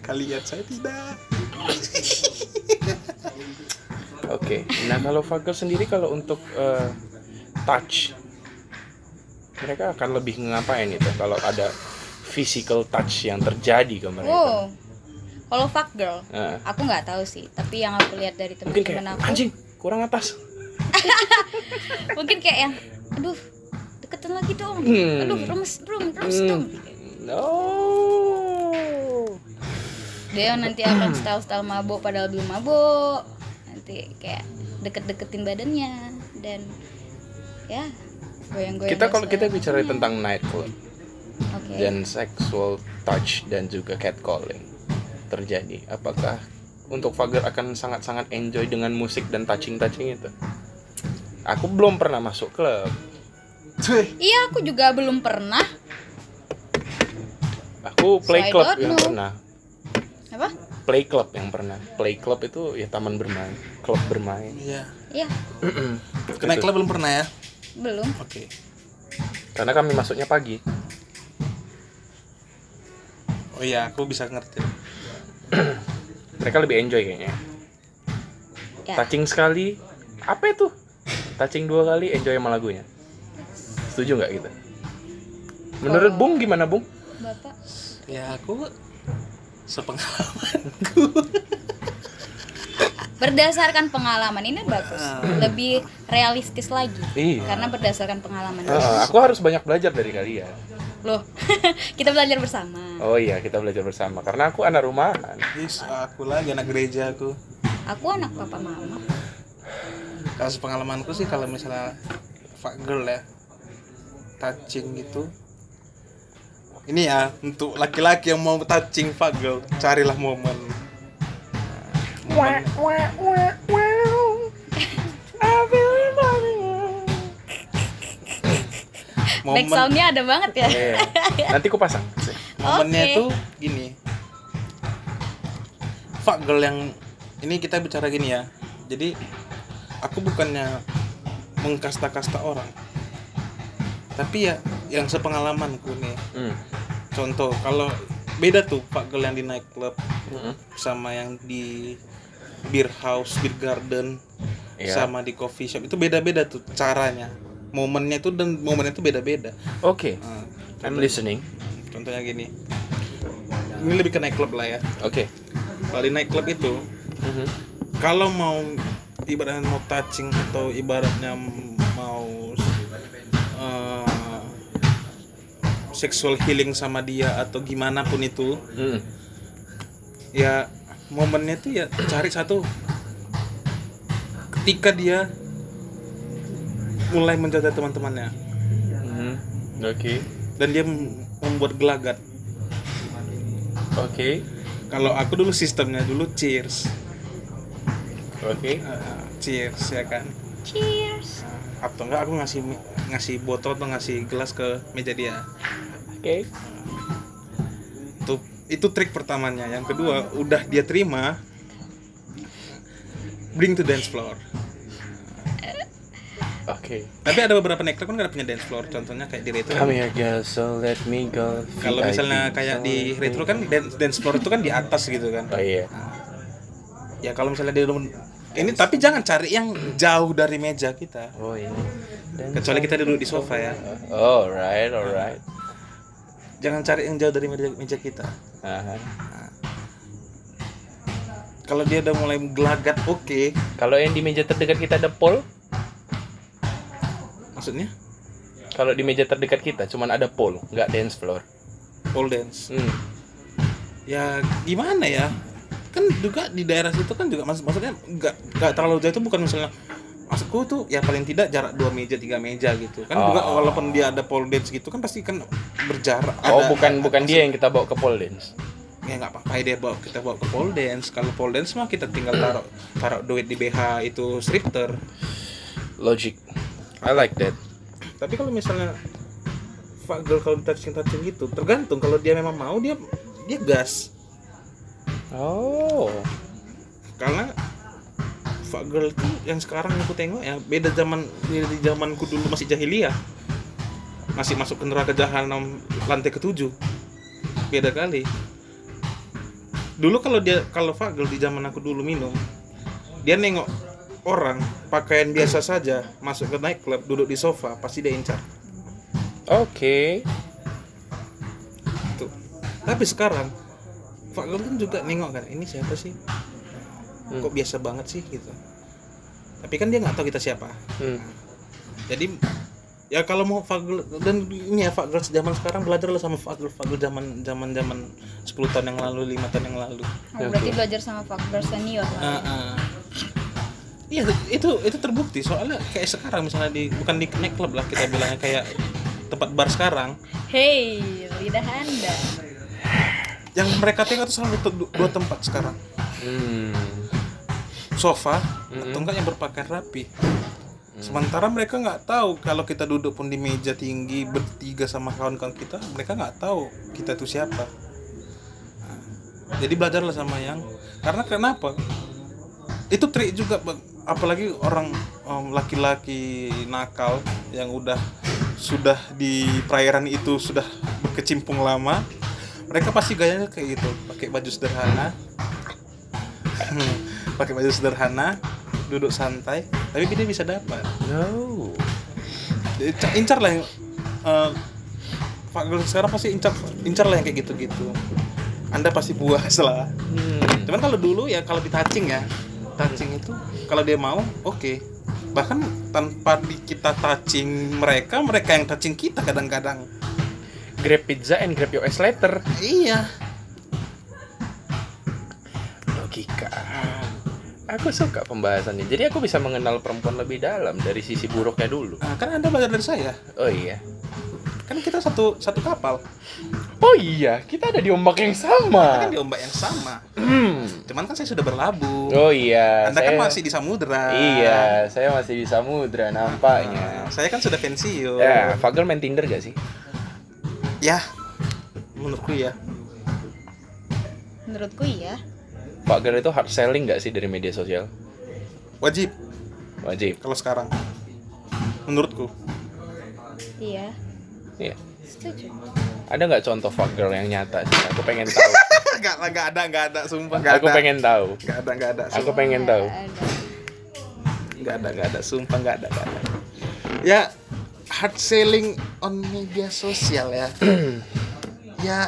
kalian saya tidak. Oke. Nah, kalau Fagel sendiri kalau untuk eh, touch mereka akan lebih ngapain itu kalau ada physical touch yang terjadi ke mereka. wow kalau fuck girl Nah, aku nggak tahu sih tapi yang aku lihat dari mungkin kayak teman-teman aku anjing kurang atas. mungkin kayak yang aduh deketan lagi dong Hmm. aduh rumes rum rumes Hmm. dong Oh. dia nanti akan style style mabuk padahal belum mabuk nanti nanti kayak deket-deketin badannya dan ya goyang-goyang kita kalau kita goyang-goyang. bicara tentang nightclub Oke. dan sexual touch dan juga catcalling terjadi apakah untuk Fager akan sangat-sangat enjoy dengan musik dan touching-touching itu aku belum pernah masuk klub iya aku juga belum pernah aku play So, I club don't yang know. pernah apa play club yang pernah play club itu ya taman bermain klub bermain Iya. iya Kena Gitu. klub belum pernah ya? belum Oke. karena kami masuknya pagi Oh iya, aku bisa ngerti. mereka lebih enjoy kayaknya ya touching sekali apa itu touching dua kali enjoy sama lagunya setuju nggak gitu menurut Kalau- Bung gimana Bung bapak Ya aku sepengalaman. berdasarkan pengalaman ini bagus lebih realistis lagi Iya. karena berdasarkan pengalaman Eh, aku harus banyak belajar dari kalian loh kita belajar bersama oh iya kita belajar bersama karena aku anak rumahan Yes, aku lagi anak gereja aku. aku anak papa mama Kasus pengalamanku sih kalau misalnya fuck girl ya touching gitu. Ini ya untuk laki-laki yang mau touching fuck girl, carilah momen. Nah, momen- back soundnya ada banget ya Eh, nanti aku pasang momennya Oke. tuh gini fuck girl yang ini kita bicara gini ya jadi aku bukannya mengkasta-kasta orang tapi ya yang sepengalamanku nih Hmm. contoh kalau beda tuh fuck girl yang di nightclub Mm-mm. sama yang di beer house beer garden Iya. sama di coffee shop itu beda-beda tuh caranya momennya tuh dan momennya tuh beda-beda oke Nah, I'm listening contohnya gini ini lebih ke nightclub lah ya oke kalau di nightclub itu Mhm. kalau mau ibaratnya mau touching atau ibaratnya mau eh, sexual healing sama dia atau gimana pun itu Mm. ya momennya tuh ya cari satu ketika dia mulai menjaga teman-temannya Mhm. oke dan dia mem- membuat gelagat oke kalau aku dulu sistemnya dulu cheers oke Eh, cheers ya kan cheers atau enggak aku ngasih ngasih botol atau ngasih gelas ke meja dia oke itu itu trik pertamanya yang kedua udah dia terima bring to dance floor oke tapi ada beberapa nightclub kan nggak punya dance floor contohnya kayak di retro Come here girl, so let me go. kalau VIP, misalnya kayak so di let me retro kan dance, dance floor itu kan di atas gitu kan Oh iya. ya kalau misalnya dia udah- ini tapi jangan cari yang jauh dari meja kita Oh ini. Dan- kecuali kita duduk di sofa ya Oh, alright, alright. jangan cari yang jauh dari meja, meja kita Aha. kalau dia udah mulai gelagat oke Kalau yang di meja terdekat kita ada pole, maksudnya kalau di meja terdekat kita cuman ada pole, nggak dance floor. pole dance Hmm. ya gimana ya kan juga di daerah situ kan juga mas maksudnya nggak nggak terlalu jauh itu bukan misalnya maksudku tuh ya paling tidak jarak dua meja tiga meja gitu kan juga Oh. walaupun dia ada pole dance gitu kan pasti kan berjarak Oh, ada- bukan bukan dia yang kita bawa ke pole dance. ya nggak apa-apa dia bawa kita bawa ke pole dance kalau pole dance mah kita tinggal taruh taruh duit di BH itu stripter Logic. I like that. tapi kalau misalnya fuck girl kalau touching touching gitu tergantung kalau dia memang mau dia dia gas Oh. karena fuck girl itu yang sekarang aku tengok ya beda zaman di zamanku dulu masih jahiliyah masih masuk ke neraka jahanam lantai ketujuh beda kali dulu kalau dia kalau fuck girl di zaman aku dulu minum dia nengok orang pakaian biasa saja masuk ke nightclub duduk di sofa pasti dia incar Oke. tuh Gitu. tapi sekarang fuck girl kan juga nengok kan ini siapa sih kok biasa banget sih gitu tapi kan dia nggak tahu kita siapa Hmm. jadi ya kalau mau fagel dan ini ya fagel zaman sekarang belajar lah sama fagel fagel zaman zaman zaman 10 tahun yang lalu lima tahun yang lalu Oh, berarti belajar sama faktor senior lah. Ah, ah. Iya, itu itu terbukti soalnya kayak sekarang misalnya di bukan di nightclub lah kita bilangnya kayak tempat bar sekarang Hey, lidah anda. yang mereka tinggal tuh selalu tu- dua tempat sekarang Hmm. sofa atau enggak yang berpakaian rapi sementara mereka nggak tahu kalau kita duduk pun di meja tinggi bertiga sama kawan-kawan kita mereka nggak tahu kita itu siapa Nah, jadi belajarlah sama yang karena kenapa itu trik juga Bang. apalagi orang em, laki-laki nakal yang udah sudah di perairan itu sudah berkecimpung lama mereka pasti gayanya kayak gitu pakai baju sederhana Hmm, pakai baju sederhana duduk santai tapi dia bisa dapat No. Jadi, incar- incar lah yang eh, Pak Guru sekarang pasti incar incar lah yang kayak gitu-gitu anda pasti puas lah Hmm. cuman kalau dulu ya kalau di touching ya touching itu kalau dia mau oke bahkan tanpa di kita touching mereka mereka yang touching kita kadang-kadang Grab pizza and grab your ass later. iya Logika. Aku suka pembahasannya. Jadi aku bisa mengenal perempuan lebih dalam dari sisi buruknya dulu. Nah, kan anda belajar dari saya Oh iya. kan kita satu satu kapal Oh iya, kita ada di ombak yang kan sama. di ombak yang sama Hmm. cuman kan saya sudah berlabuh Oh iya. Anda kan saya- masih di samudra. Iya, saya masih di samudra nampaknya. Nah, saya kan sudah pensiun. Ya, Fagel main Tinder gak sih? Ya. Menurutku ya. Menurutku iya. Fagel itu hard selling gak sih dari media sosial? Wajib Wajib. kalau sekarang. Menurutku. Iya. Iya. Setuju. Ada nggak contoh Fagel yang nyata? sih? Aku pengen tahu. Enggak lah, enggak ada, enggak ada, sumpah enggak Aku ada. pengen tahu. Enggak ada, enggak ada. Aku Iya. pengen tahu. Enggak ada, enggak ada, sumpah enggak ada, enggak ada. Ya, hard selling on media sosial ya. ya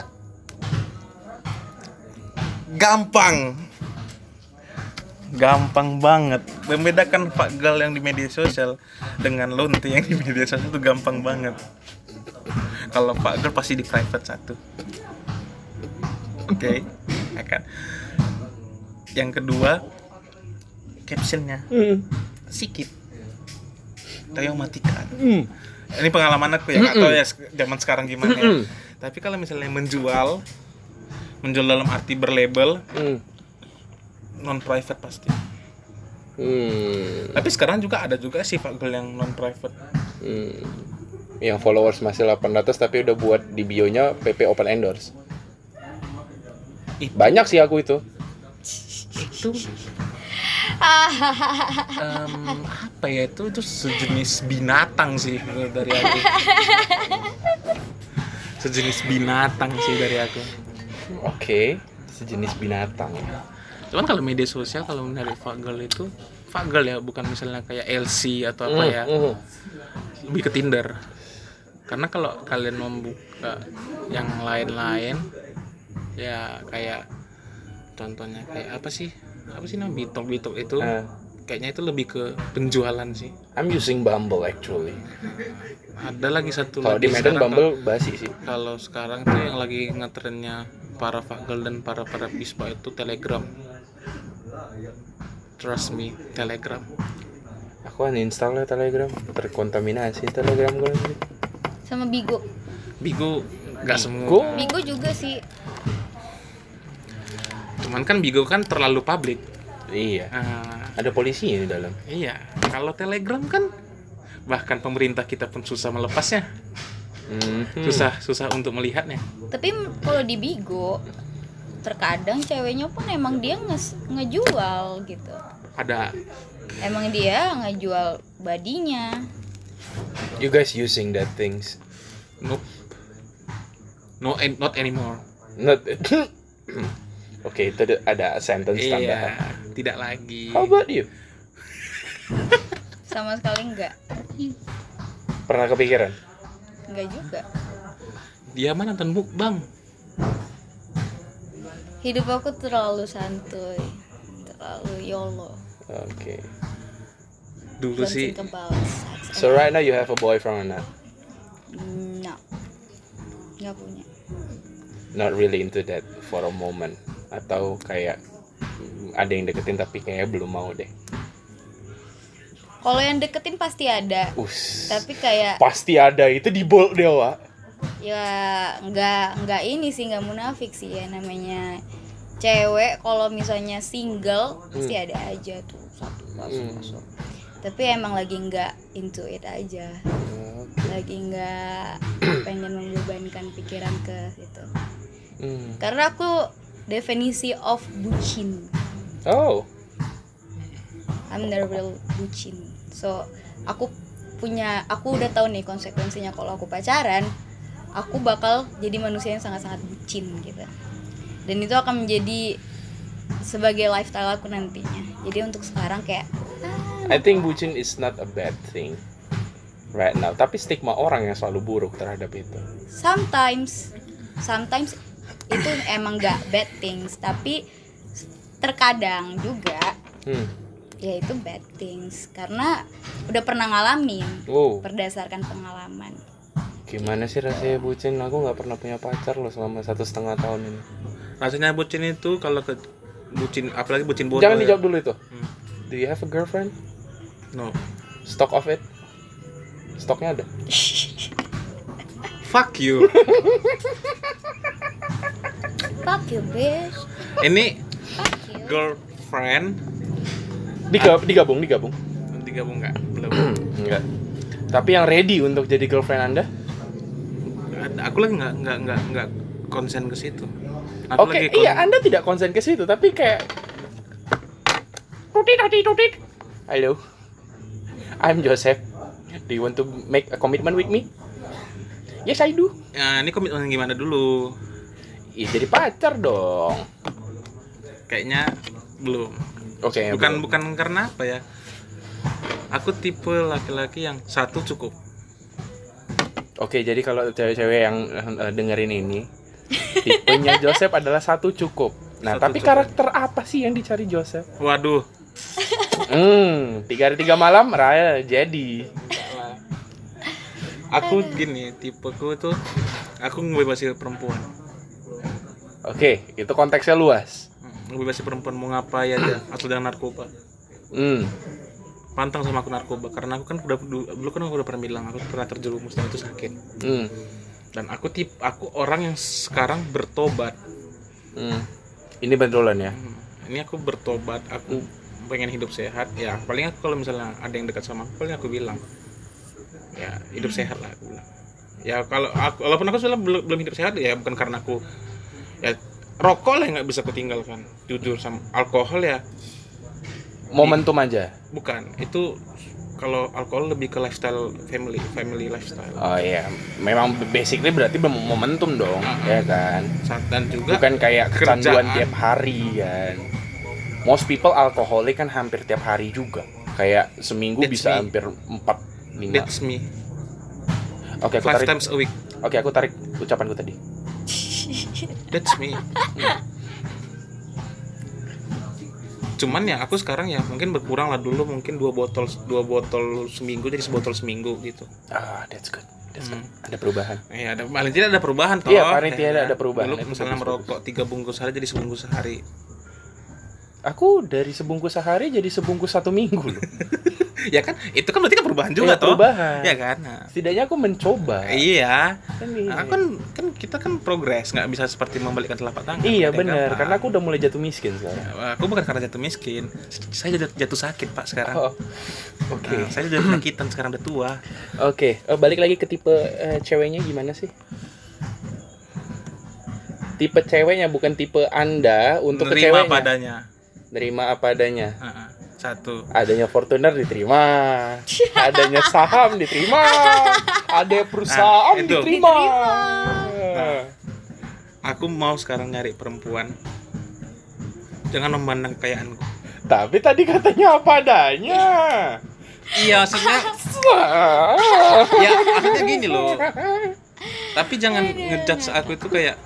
gampang. Gampang banget. Membedakan Pak Gal yang di media sosial dengan Lonte yang di media sosial itu gampang banget. Kalau Pak Gal pasti di private satu. Oke, ya kan. Yang kedua, captionnya Hmm, sikit tapi mematikan hmm, ini pengalaman aku ya nggak tahu ya sek- zaman sekarang gimana ya. tapi kalau misalnya menjual menjual dalam arti berlabel Hmm. non private pasti Hmm. tapi sekarang juga ada juga sih pak Gul yang non private Hmm. Yang followers masih 800 tapi udah buat di bio-nya PP open endorse. Itu. Banyak sih aku itu. itu em, apa ya itu itu sejenis binatang sih menurut dari aku sejenis binatang sih dari aku Oke, sejenis binatang. Cuman kalau media sosial kalau mencari fagel itu fagel ya bukan misalnya kayak LC atau apa Hmm, ya hmm. lebih ke Tinder. Karena kalau kalian membuka yang lain-lain ya kayak contohnya kayak apa sih? Apa sih nama bitok bitok itu? Eh, Kayaknya itu lebih ke penjualan sih. I'm using Bumble actually. Ada lagi satu Kalau lagi di Medan sekarang Bumble basi sih. kalau- kalau sekarang tuh yang lagi ngetrennya para fagel dan para para bispa itu Telegram. Trust me, Telegram. Aku uninstall lah Telegram, terkontaminasi Telegram gue. lagi. Sama Bigo. Bigo nggak semua. Bigo? Bigo juga sih. Cuman kan Bigo kan terlalu publik. Iya. Ah, Ada polisi di dalam. iya. Kalau Telegram kan bahkan pemerintah kita pun susah melepasnya, Mhm. susah susah untuk melihatnya. Tapi m- kalau di Bigo terkadang ceweknya pun emang dia nges- ngejual gitu. Ada Emang dia ngejual badinya. You guys using that things? nope. No, an- not anymore. Not. Oke, itu ada- ada sentence tambahan. Iya, tidak lagi. How about you? Sama sekali enggak. Pernah kepikiran? Enggak juga. Dia mah nonton mukbang. Hidup aku terlalu santuy. Terlalu YOLO. Oke. Dulu Don't sih think about sex. So right now you have a boyfriend or not? No. Enggak punya. Not really into that for a moment. Atau kayak mm, ada yang deketin tapi kayaknya belum mau deh. Kalau yang deketin pasti ada. Us. Tapi kayak Pasti ada itu di bold dia, Wak. ya nggak nggak ini sih nggak munafik sih ya namanya cewek kalau misalnya single pasti ada aja tuh satu masuk Hmm. masuk. Tapi emang lagi nggak into it aja, lagi nggak pengen membebankan pikiran ke situ. Hmm. Karena aku definisi of bucin. Oh. I'm the real bucin. So aku punya aku udah tahu nih konsekuensinya kalau aku pacaran, aku bakal jadi manusia yang sangat-sangat bucin gitu. Dan itu akan menjadi sebagai lifestyle aku nantinya. Jadi untuk sekarang kayak I think bucin is not a bad thing right now. Tapi stigma orang yang selalu buruk terhadap itu. sometimes sometimes itu emang gak bad things, tapi terkadang juga Hmm. ya itu bad things karena udah pernah ngalamin Wow. berdasarkan pengalaman. Gimana sih rasanya bucin? Aku nggak pernah punya pacar loh selama satu setengah tahun ini. Rasanya bucin itu kalau ke bucin apalagi bucin bodoh. Jangan ya. dijawab dulu itu. Hmm. Do you have a girlfriend? No. Stock of it? Stoknya ada. Fuck you. Fuck you, bitch. Ini Fuck you. girlfriend Digab- digabung, digabung. nanti gabung nggak? Belum. Enggak. Tapi yang ready untuk jadi girlfriend Anda? Ada- Aku lagi nggak nggak nggak nggak konsen ke situ. Aku Oke, lagi kon- iya Anda tidak konsen ke situ, tapi kayak tutit tutit tutit. Halo. I'm Joseph. Do you want to make a commitment with me? Yes, I do. Nah, ini komitmen gimana dulu? Ih, jadi pacar dong. Kayaknya belum. Oke, bukan bukan karena apa ya? Aku tipe laki-laki yang satu cukup. Oke, jadi kalau cewek-cewek yang eh, dengerin ini, tipenya Joseph adalah satu cukup. Nah, Satu tapi cukup. karakter apa sih yang dicari Joseph? Waduh. Hmm, tiga hari tiga malam raya jadi. Aku gini, tipeku tuh aku ngebebasin perempuan. Oke, itu konteksnya luas. Hmm, Ngebebasin perempuan mau ngapain aja asal dengan narkoba. Hmm, pantang sama aku narkoba karena aku kan udah dulu dulu kan aku udah pernah bilang aku pernah terjerumus dan itu sakit hmm, dan aku tip aku orang yang sekarang bertobat hmm. Ini bandolan ya. Hmm, ini aku bertobat aku pengen hidup sehat ya paling aku kalau misalnya ada yang dekat sama aku paling aku bilang ya hidup sehat lah aku bilang ya kalau aku walaupun aku sebenarnya belum, belum hidup sehat ya bukan karena aku ya rokok lah yang nggak bisa aku tinggalkan jujur sama alkohol ya Momentum aja. bukan itu kalau alkohol lebih ke lifestyle family family lifestyle Oh iya, memang basically berarti mem- momentum dong, ya kan? Saat- dan juga Bukan Hmm. kayak Kerjaan. kecanduan tiap hari kan. Most people alkoholik kan hampir tiap hari juga. Kayak seminggu That's bisa me. hampir 4 5. that's me Oke, Ya, aku five tarik. times a week Oke, aku tarik ucapanku tadi. that's me cuman ya aku sekarang ya mungkin berkurang lah dulu mungkin dua botol dua botol seminggu jadi sebotol seminggu gitu Ah, that's good. That's good. Hmm. Ada perubahan. ya ada paling tidak ada perubahan toh Iya, paling Ya, tidak ada perubahan. dulu Itu misalnya bagus, merokok tiga bungkus sehari jadi sebungkus sehari Aku dari sebungkus sehari jadi sebungkus satu minggu loh. ya kan itu kan berarti kan perubahan juga Iya, toh perubahan. ya kan Nah, Setidaknya aku mencoba. iya Kan ini. Nah, kan kan kita kan progres nggak bisa seperti membalikkan telapak tangan Iya Ya kan, benar, Pak? karena aku udah mulai jatuh miskin sekarang. aku bukan karena jatuh miskin saya jatuh, jatuh sakit pak sekarang Oh, Oke, Nah, saya udah penyakitan sekarang udah tua. oke. Eh, balik lagi ke tipe eh, ceweknya gimana sih? Tipe ceweknya bukan tipe anda untuk ke Nerima ceweknya. padanya. Nerima apa adanya. Heeh. Satu. Adanya Fortuner diterima, adanya saham diterima, ada Nah, perusahaan itu. diterima. Nah. Aku mau sekarang nyari perempuan. Jangan memandang kekayaanku. Tapi tadi katanya apa adanya. Iya, maksudnya Wah. ya maksudnya gini loh. Tapi jangan ngejudge aku itu kayak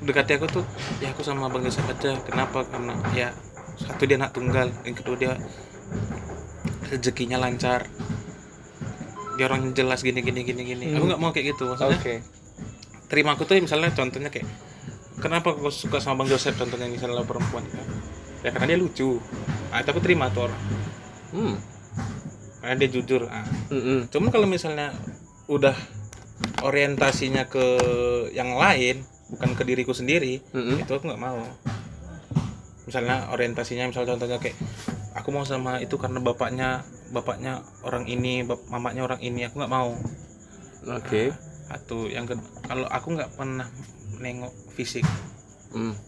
dekati aku tuh ya aku sama Bang Yosef aja. Kenapa? Karena ya satu dia anak tunggal, yang kedua dia rezekinya lancar. Dia orang yang jelas gini gini gini gini. Aku nggak mau kayak gitu. Maksudnya Oke. terima aku tuh misalnya contohnya kayak kenapa aku suka sama bang Joseph contohnya misalnya Ya, Ah, perempuan ya karena dia lucu nah, itu aku terima tuh orang Hmm. Nah, karena dia jujur ah. Mm-mm. cuman kalau misalnya udah orientasinya ke yang lain bukan ke diriku sendiri Mm-mm. itu aku nggak mau misalnya orientasinya misal contohnya kayak aku mau sama itu karena bapaknya bapaknya orang ini bap- mamanya orang ini aku nggak mau oke atau yang kedua kalau aku nggak pernah nengok fisik Mm.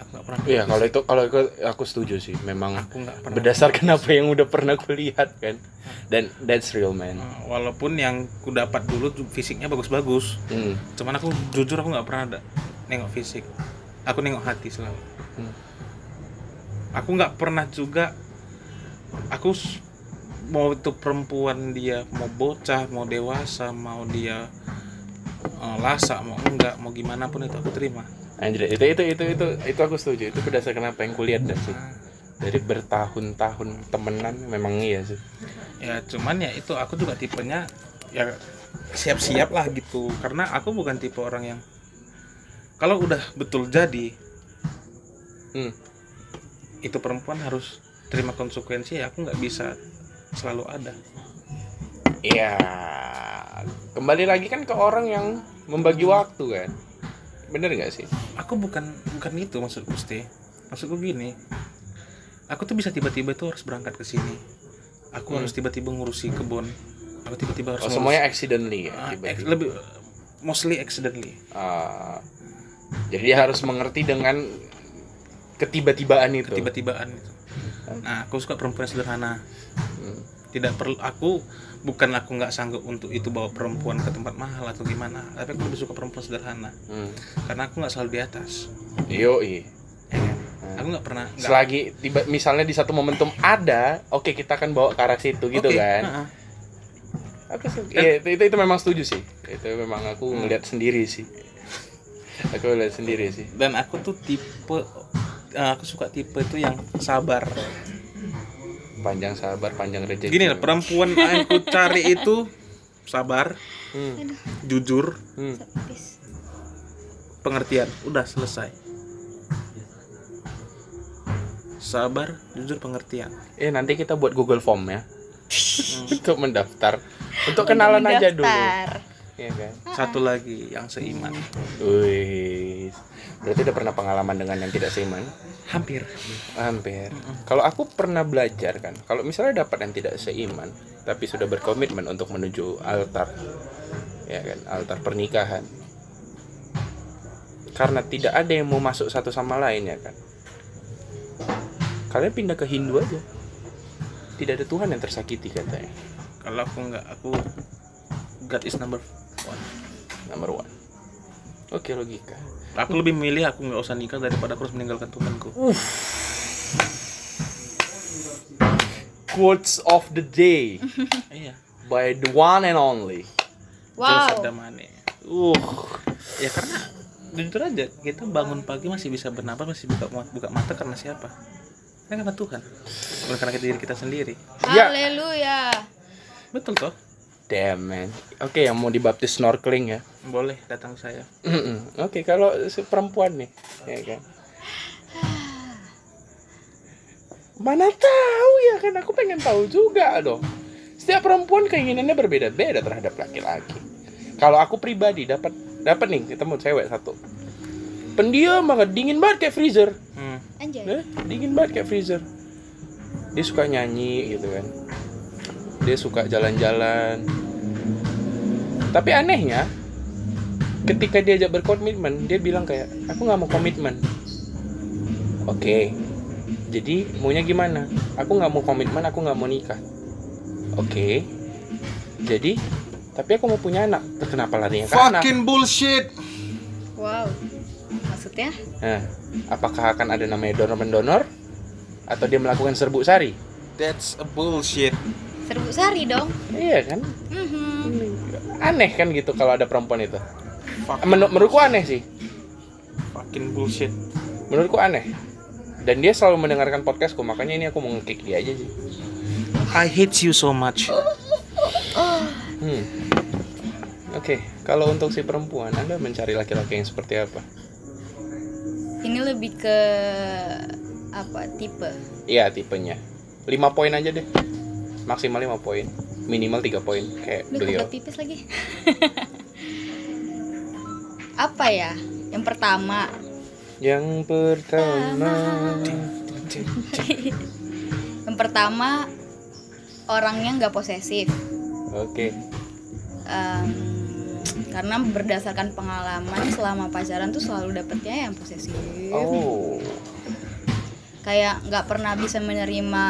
aku nggak pernah Iya kalau itu kalau itu aku setuju sih memang aku nggak pernah berdasarkan apa yang udah pernah kulihat kan dan that's real man Nah, walaupun yang ku dapat dulu tuh fisiknya bagus-bagus Mm. cuman aku jujur aku nggak pernah ada nengok fisik aku nengok hati selalu Hmm. aku nggak pernah juga aku s- mau itu perempuan dia mau bocah mau dewasa mau dia eh, lasak mau enggak mau gimana pun itu aku terima Anjir, itu itu itu itu itu aku setuju. Itu berdasarkan apa yang kulihat dan sih. Dari bertahun-tahun temenan memang iya sih. ya cuman ya itu aku juga tipenya ya siap-siap lah gitu karena aku bukan tipe orang yang kalau udah betul jadi Hmm. itu perempuan harus terima konsekuensi ya aku nggak bisa selalu ada Iya. Kembali lagi kan ke orang yang membagi waktu kan. Bener nggak sih? aku bukan bukan itu maksud Gusti maksudku gini aku tuh bisa tiba-tiba tuh harus berangkat ke sini aku harus tiba-tiba ngurusi kebun aku tiba-tiba harus Hmm. Oh, ngurus- semuanya accidentally ya. Ah, ex- tiba-tiba. lebih mostly accidentally Ah, jadi dia harus mengerti dengan ketiba-tibaan itu. ketiba-tibaan itu nah aku suka perempuan sederhana Hmm. tidak perlu aku bukan aku nggak sanggup untuk itu bawa perempuan ke tempat mahal atau gimana tapi aku lebih suka perempuan sederhana Hmm. karena aku nggak selalu di atas Yoi. ya kan? Nah. aku nggak pernah nggak- Selagi tiba misalnya di satu momentum ada, oke kita akan bawa ke arah situ gitu Oke, nah, kan. ha-ha. Aku setuju. Iya, itu, itu, itu memang setuju sih. Itu memang aku ngeliat sendiri sih. Aku lihat sendiri sih. dan aku tuh tipe eh, aku suka tipe itu yang sabar Panjang sabar, panjang rejeki. gini lah perempuan yang aku cari itu sabar Hmm. jujur Hmm. pengertian udah selesai sabar jujur pengertian Eh nanti kita buat Google Form ya. Hmm. Untuk mendaftar. Untuk kenalan aja dulu. Daftar. Iya kan. satu lagi yang seiman Wih. Berarti udah pernah pengalaman dengan yang tidak seiman? hampir Hampir. Kalau aku pernah belajar kan, kalau misalnya dapat yang tidak seiman, tapi sudah berkomitmen untuk menuju altar, ya kan, altar pernikahan. Karena tidak ada yang mau masuk satu sama lain ya kan. Kalian pindah ke Hindu aja. Tidak ada Tuhan yang tersakiti katanya. kalau aku nggak aku God is number one Nomor one. Oke logika. aku lebih memilih aku nggak usah nikah daripada aku harus meninggalkan Tuhanku Quotes of the day iya by the one and only. Joseph Wow. Damane Uh. ya karena jujur aja kita bangun pagi masih bisa bernapas masih buka buka mata karena siapa karena karena Tuhan bukan karena diri kita sendiri Ya. Haleluya. betul toh Damn man. Oke yang mau dibaptis snorkeling ya. boleh datang ke saya Mm-mm. Oke, kalau si perempuan nih, ya kan. Mana tahu ya kan aku pengen tahu juga dong. Setiap perempuan keinginannya berbeda-beda terhadap laki-laki. Kalau aku pribadi dapat dapat nih ketemu cewek satu. Pendiam banget, dingin banget kayak freezer. hmm. Anjay. Eh, dingin banget kayak freezer. Dia suka nyanyi gitu kan. Dia suka jalan-jalan. Tapi anehnya, ketika diajak berkomitmen, dia bilang kayak, aku nggak mau komitmen. Oke. Jadi maunya gimana? Aku nggak mau komitmen, aku nggak mau nikah. Oke. Jadi, tapi aku mau punya anak. Terus Kenapa larinya ke anak? bullshit Wow. Maksudnya? Nah, apakah akan ada namanya donor mendonor? Atau dia melakukan serbuk sari? that's a bullshit Serbu sari dong. Iya kan? Mhm. Aneh kan gitu kalau ada perempuan itu. Fuck. Menu- menurutku aneh sih. fucking bullshit Menurutku aneh. Dan dia selalu mendengarkan podcastku, makanya ini aku mau ngekick dia aja sih. I hate you so much Hmm. Oke, kalau untuk si perempuan, Anda mencari laki-laki yang seperti apa? Ini lebih ke apa tipe? Iya, tipenya. 5 poin aja deh. maksimal 5 poin minimal 3 poin kayak Duh, beliau kebelet pipis lagi. Apa ya? Yang pertama, yang pertama yang pertama orangnya nggak posesif. oke Em, karena berdasarkan pengalaman selama pacaran tuh selalu dapetnya yang posesif. oh Kayak nggak pernah bisa menerima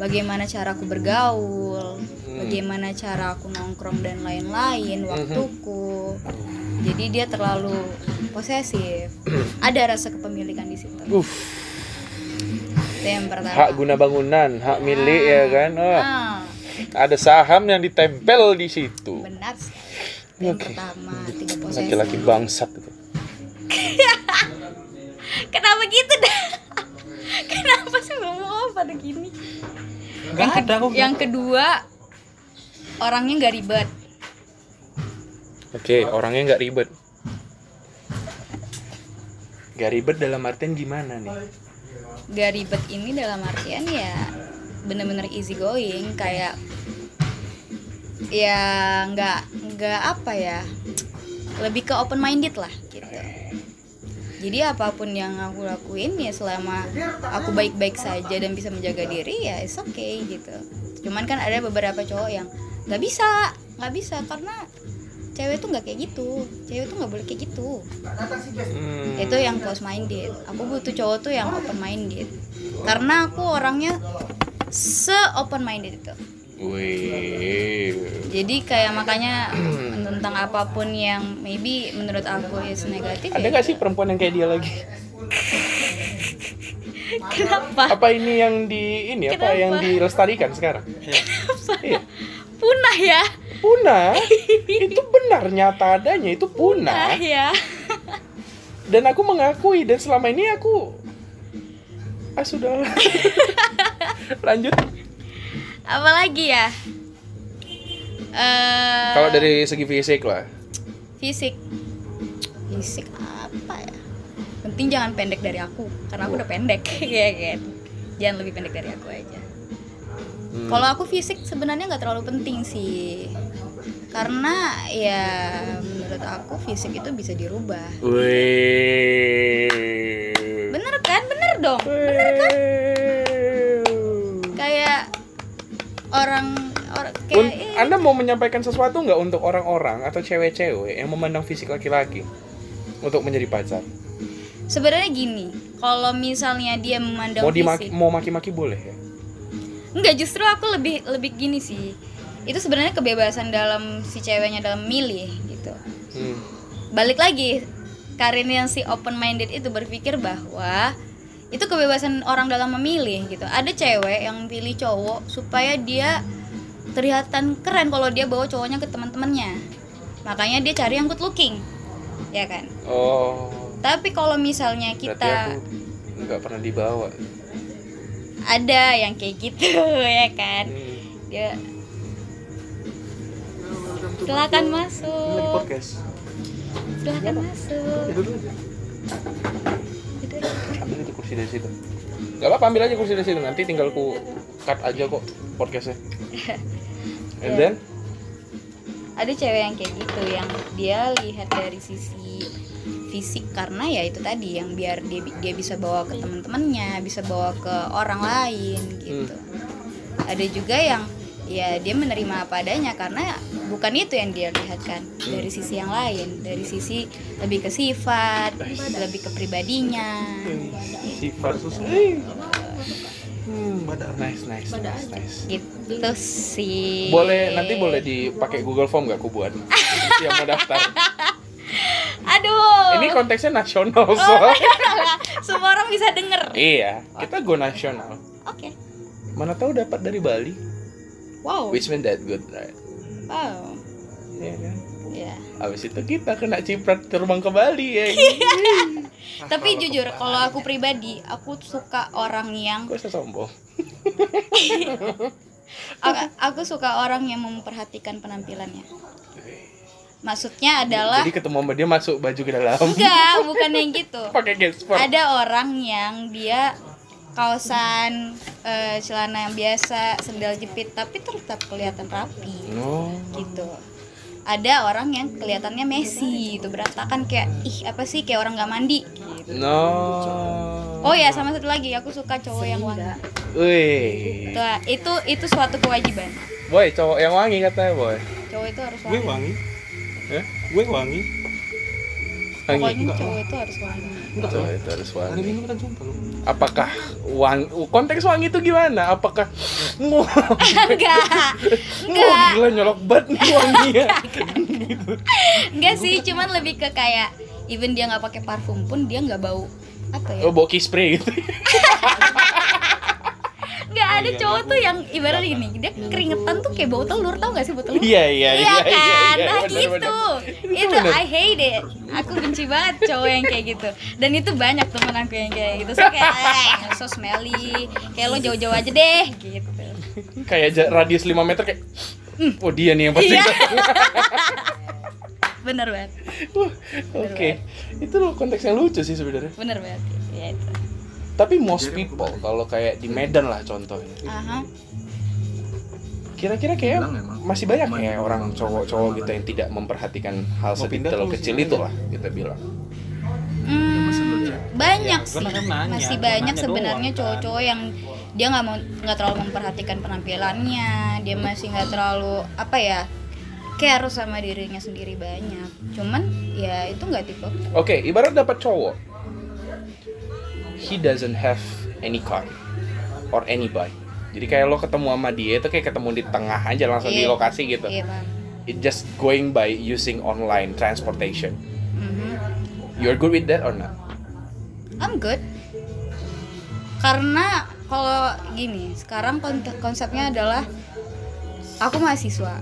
bagaimana cara aku bergaul, Hmm. bagaimana cara aku nongkrong dan lain-lain, waktuku. Jadi dia terlalu posesif. Ada rasa kepemilikan di situ. Uff. Itu yang pertama. hak guna bangunan hak milik ya kan oh, Ah, ada saham yang ditempel di situ benar. Itu Yang Oke. pertama, tiga posesif. laki-laki bangsat itu Kenapa gitu dah? Kenapa sih ngomong pada gini? yang, ke- yang kedua orangnya nggak ribet. Oke, orangnya nggak ribet. Nggak ribet dalam artian gimana nih? Nggak ribet ini dalam artian ya bener-bener easy going kayak ya nggak nggak apa ya lebih ke open minded lah gitu. Jadi apapun yang aku lakuin ya selama aku baik-baik saja dan bisa menjaga diri ya it's okay gitu. Cuman kan ada beberapa cowok yang nggak bisa, nggak bisa karena cewek tuh nggak kayak gitu, cewek tuh nggak boleh kayak gitu. Hmm, Itu yang close minded. Aku butuh cowok tuh yang open minded. Karena aku orangnya se open minded itu. wih. Jadi kayak makanya tentang apapun yang maybe menurut aku is negatif Ada ya nggak sih perempuan yang kayak dia lagi? Kenapa? Apa ini yang di ini Kenapa? apa yang dilestarikan sekarang? Iya. Punah ya? Punah itu benar nyata adanya itu Punah punah ya? dan aku mengakui dan selama ini aku ah sudah lanjut Eh. Apalagi ya? Eh kalau dari segi fisik lah fisik. Fisik apa ya? Penting jangan pendek dari aku karena aku udah pendek ya kan. Jangan lebih pendek dari aku aja. Hmm. Kalau aku fisik sebenarnya nggak terlalu penting sih. Karena ya menurut aku fisik itu bisa dirubah. Wih. Bener kan? Bener dong. Bener kan? Kayak orang orang Un- kayak eh, kan? Anda mau menyampaikan sesuatu nggak untuk orang-orang atau cewek-cewek yang memandang fisik laki-laki untuk menjadi pacar? sebenarnya gini, kalau misalnya dia memandang Mau dimaki, fisik, mau maki-maki boleh ya? enggak justru aku lebih lebih gini sih. Itu sebenarnya kebebasan dalam si ceweknya dalam milih gitu. Hmm. Balik lagi Karin yang si open minded itu berpikir bahwa itu kebebasan orang dalam memilih gitu. Ada cewek yang pilih cowok supaya dia terlihatan keren kalau dia bawa cowoknya ke teman-temannya. Makanya dia cari yang good looking. Ya kan? Oh, Tapi kalau misalnya berarti aku kita nggak pernah dibawa. ada yang kayak gitu ya kan Hmm. dia silakan masuk podcast. silakan masuk Gitu aja. Ambil itu kursi dari situ. Gak apa-apa, ambil aja kursi dari situ. Nanti tinggal ku cut aja kok podcastnya. And Iya. then, ada cewek yang kayak gitu yang dia lihat dari sisi fisik karena ya itu tadi yang biar dia dia bisa bawa ke teman-temannya bisa bawa ke orang lain gitu Hmm. ada juga yang ya dia menerima apa adanya karena bukan itu yang dia lihat kan dari sisi yang lain dari sisi lebih ke sifat lebih ke pribadinya sifat Eh. Hmm, nice, nice, nice, nice. gitu sih Boleh nanti boleh dipakai Google Form gak aku buat yang mau daftar. aduh Ini konteksnya nasional soalnya. semua orang bisa denger oke iya, kita go nasional. Mana tahu dapat dari Bali. wow Which mean that good, right? wow Iya kan? ya Abis itu kita kena ciprat terbang ke Bali ya. tapi jujur kalau aku pribadi aku suka orang yang Kok saya sombong? aku, aku suka orang yang memperhatikan penampilannya maksudnya adalah Jadi ketemu sama dia masuk baju ke dalam. enggak bukan yang gitu Pakai gesper. ada orang yang dia kaosan eh, celana yang biasa sendal jepit tapi tetap kelihatan rapi Oh. gitu ada orang yang kelihatannya messy itu berantakan kayak ih apa sih kayak orang nggak mandi gitu No. oh iya. ya sama satu lagi aku suka cowok yang wangi Wih. itu itu itu suatu kewajiban Boy, cowok yang wangi katanya, boy. cowok itu harus Gue wangi wangi. Eh? Gue wangi. Wangi. pokoknya cowok itu harus wangi Enggak Cowok lah. itu harus Hari wangi. minggu kita jumpa lu. Apakah wangi konteks wangi itu gimana? Apakah Wah, enggak wah, enggak gila nyolok banget nih wanginya. enggak sih cuman lebih ke kayak even dia nggak pakai parfum pun dia nggak bau apa ya Oh, boki spray gitu. nggak ada iya, cowok tuh yang ibarat gini dia keringetan tuh kayak bau telur tau gak sih bau telur Iya, iya, iya. Iya kan, nah bener, gitu. Itu bener. I hate it. Aku benci banget cowok yang kayak gitu. Dan itu banyak temen aku yang kayak gitu. So kayak, eh, so smelly. Kayak lo jauh-jauh aja deh, gitu. bener. Kayak ja- radius 5 meter kayak Oh dia nih yang pasti. Iya. Bener banget, Wah, Oke, itu loh konteks yang lucu sih sebenarnya. bener banget. Ya Iya. itu. Tapi most people kalau kayak di Medan lah contohnya, Aha. kira-kira kayak masih banyak ya orang cowok-cowok gitu yang tidak memperhatikan hal sedetail kecil itu lah kita bilang. Hmm, banyak sih. karena kan nanya, Masih kan banyak nanya sebenarnya doang, kan. cowok-cowok yang dia nggak mau nggak terlalu memperhatikan penampilannya. Dia masih nggak terlalu apa ya? care sama dirinya sendiri banyak. Cuman ya itu nggak tipe aku. Oke, ibarat dapat cowok, he doesn't have any car or anybody. Jadi kayak lo ketemu sama dia itu kayak ketemu di tengah aja langsung di Iya. lokasi gitu. Iya, Bang. It just going by using online transportation. Mhm. You're good with that or not? I'm good. Karena kalau gini, sekarang kon- konsepnya adalah aku mahasiswa,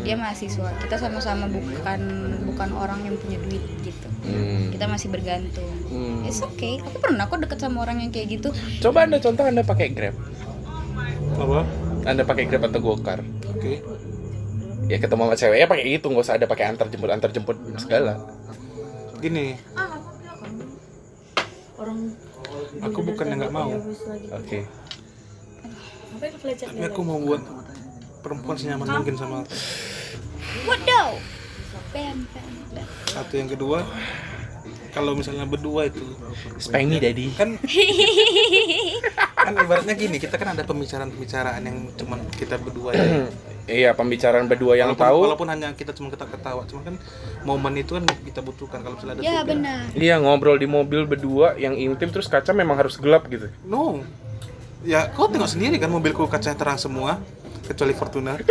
dia Hmm. mahasiswa. Kita sama-sama bukan bukan orang yang punya duit gitu. Hmm. Kita masih bergantung. Hmm. It's okay. Aku pernah kok deket sama orang yang kayak gitu. Coba anda contoh anda pakai Grab, Apa? anda pakai Grab atau GoCar. Oke. ya ketemu sama ceweknya pakai itu nggak usah ada pakai antar jemput antar jemput segala Gini. Aku bukan yang nggak mau, oke tapi aku mau buat perempuan senyaman mungkin sama aku. Waduh. Bam, bam, bam. Satu yang kedua, kalau misalnya berdua itu spank me daddy kan kan ibaratnya gini kita kan ada pembicaraan-pembicaraan yang cuman kita berdua ya. iya pembicaraan berdua yang walaupun, tahu walaupun hanya kita cuma ketawa-ketawa cuman kan momen itu kan kita butuhkan kalau misalnya ada Ya tiga. benar. Iya ngobrol di mobil berdua yang intim terus kaca memang harus gelap gitu. no ya kau tengok sendiri kan mobilku kacanya terang semua kecuali Fortuner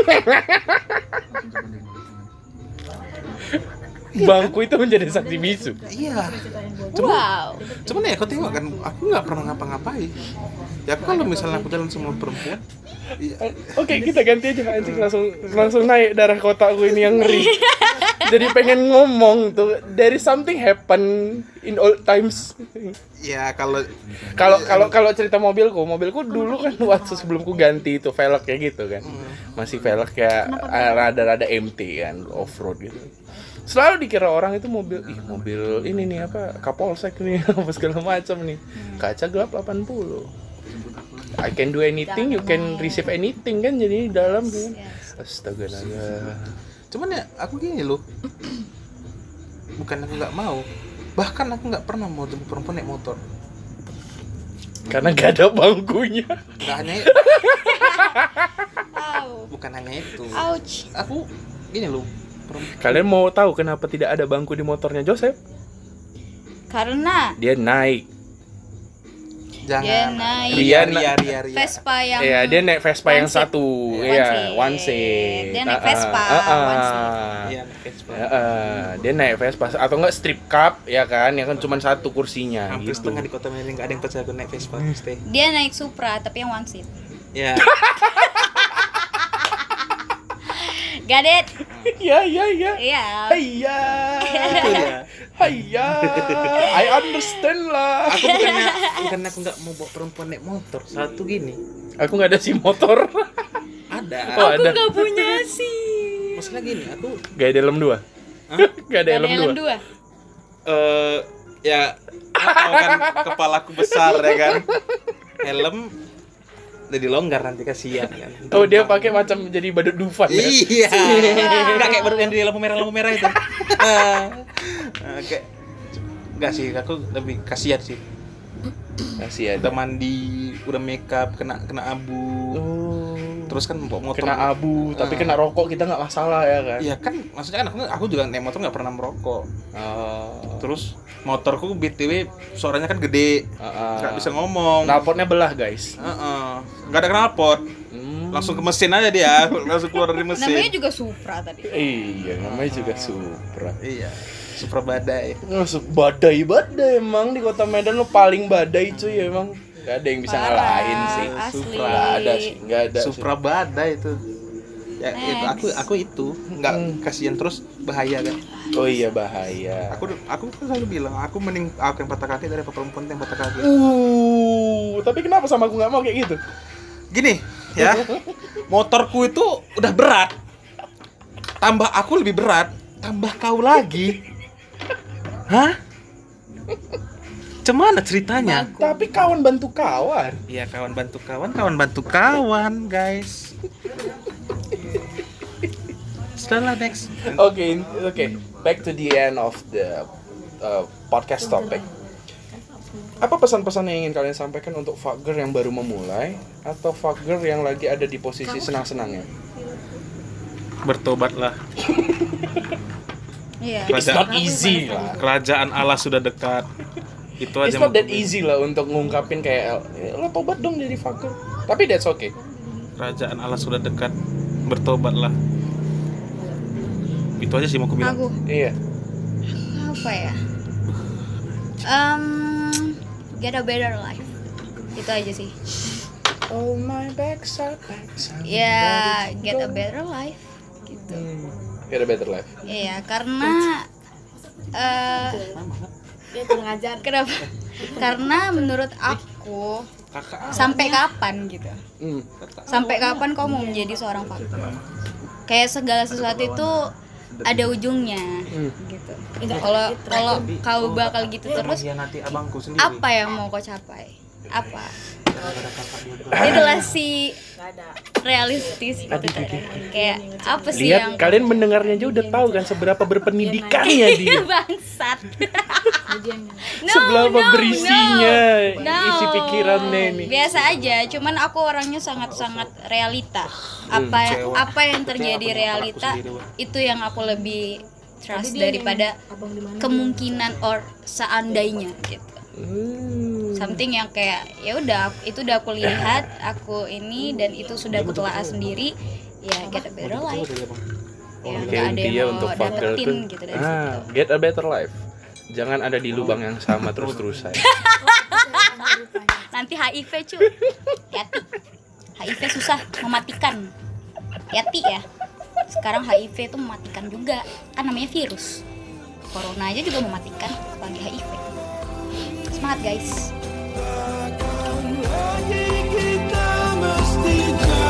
Bangku itu menjadi saksi bisu. iya Wow. cuman ya kau tengok kan aku nggak pernah ngapa-ngapain ya aku kalau misalnya aku jalan sama perempuan iya, Eh, Oke kita ganti aja anjing langsung langsung naik darah kota gue ini yang ngeri. Jadi pengen ngomong tuh there is something happen in old times. ya kalau Kalau kalau kalau cerita mobilku, mobilku dulu kan waktu sebelumku ganti itu velg kayak gitu kan. Masih velg kayak eh, rada-rada MT kan, off road gitu. Selalu dikira orang itu mobil, ih mobil ini nih apa Kapolsek nih apa segala macam nih. Kaca gelap 80. I can do anything, you can receive anything kan jadi di dalam kan. Yes. Astaga naga. cuman ya aku gini loh bukan aku nggak mau bahkan aku nggak pernah mau jemput perempuan naik motor Karena gak ada bangkunya. nggak hanya Wow. bukan hanya itu Ouch. aku gini loh perempuan Kalian mau tahu kenapa tidak ada bangku di motornya Joseph? Karena Dia naik. jangan Dia naik. ria ria ria, ria. Vespa yang Iya, dia naik Vespa One yang seat. satu. One Iya, seat. one seat. Dia naik Ah, ah, Vespa, ah, ah. one Iya, Vespa. Ah, ah. dia naik Vespa atau enggak strip cup ya kan? Ya kan cuma satu kursinya gitu. hampir setengah di kota Medan nggak ada yang percaya aku naik Vespa stay dia naik Supra tapi yang one seat. ya Got it? Iya, iya, iya. Iya. Iya. itu ya Iya. I understand lah. aku bukannya bukannya aku nggak mau bawa perempuan naik motor satu gini Aku nggak ada si motor. ada Oh, ada. nggak punya sih. maksudnya gini aku Gak ada helm dua. Hah? Gak ada helm dua. dua. eh ya kepala kan kepalaku besar ya kan helm jadi longgar nanti kasihan kan. Oh dia pakai macam jadi badut dufan ya? Iya. Enggak kayak baru yang di lampu merah lampu merah itu. Eh, eh, kayak enggak sih, aku lebih kasihan sih. Kasihan. Udah mandi, udah makeup, kena kena abu. Oh. Terus kan bawa motor. Kena abu, tapi Ah. kena rokok kita nggak masalah ya kan? Iya kan, maksudnya kan aku aku juga naik motor nggak pernah merokok. Oh. Terus motorku btw suaranya kan gede, Ah, ah. nggak bisa ngomong. Knalpotnya belah guys. Heeh. Nggak ada knalpot, Hmm. langsung ke mesin aja dia, langsung keluar dari mesin. Namanya juga Supra tadi. Iya, namanya juga Supra. Iya, super badai. Masuk badai badai emang di kota Medan lo paling badai cuy emang. Gak ada yang bisa Parah, ngalahin sih. asli. Supra nggak ada sih, nggak ada. sih. Supra badai itu. Ya, itu aku aku itu nggak kasihan terus bahaya kan. Oh iya bahaya. Aku aku kan selalu bilang aku mending aku yang patah kaki daripada perempuan yang patah kaki. Uh, tapi kenapa sama aku nggak mau kayak gitu? Gini ya, motorku itu udah berat. Tambah aku lebih berat, tambah kau lagi. Hah? Cemana ceritanya? Tapi kawan bantu kawan. Iya kawan bantu kawan, kawan bantu kawan, guys. Setelah next. Oke, in- oke. Back to the end of the uh, podcast topic. Apa pesan-pesan yang ingin kalian sampaikan untuk fucker yang baru memulai atau fucker yang lagi ada di posisi senang-senangnya? Bertobatlah. Iya. It's not easy lah. Kerajaan Allah sudah dekat. Itu It's aja. not mau that easy lah untuk ngungkapin kayak "Eh, lo tobat dong jadi fucker. Tapi that's okay. Kerajaan Allah sudah dekat. Bertobatlah. Itu aja sih mau aku bilang. Aku Iya. apa ya? Um, get a better life. Itu aja sih. Oh my backside, backside. Ya, get a better life. Gitu. Get a better life. Iya, karena eh Kenapa? Karena menurut aku sampai kapan gitu? Hmm. Sampai kapan kau mau menjadi seorang fucker? Kayak segala sesuatu itu ada ujungnya gitu. Kalau kalau kau bakal gitu terus nanti abangku sendiri. apa yang mau kau capai? Apa? Itulah si realistis gitu tadi. Kayak apa sih yang Lihat kalian mendengarnya aja udah tahu kan seberapa berpendidikannya dia. bangsat? nah. No, Seberapa no, berisinya no. No. isi pikirannya ini. Biasa aja, cuman aku orangnya sangat-sangat realita. Hmm, Apa ya, kecewa. apa yang terjadi Kecewa dengan aku realita sendiri, Wak. itu yang aku lebih trust daripada kemungkinan or seandainya gitu. Something yang kayak ya udah aku- itu udah aku lihat, aku ini dan itu sudah aku telaah sendiri. Ya get a better life. Ya nggak Kayak ada Oh, dia yang untuk mau fucker dapetin tuh gitu dari situ. ah, get a better life. Jangan ada di lubang yang sama terus-terusan. Nanti HIV cu Yati HIV susah mematikan Yati ya Sekarang HIV itu mematikan juga Kan namanya virus Corona aja juga mematikan Apalagi HIV Semangat guys Kita mesti jauh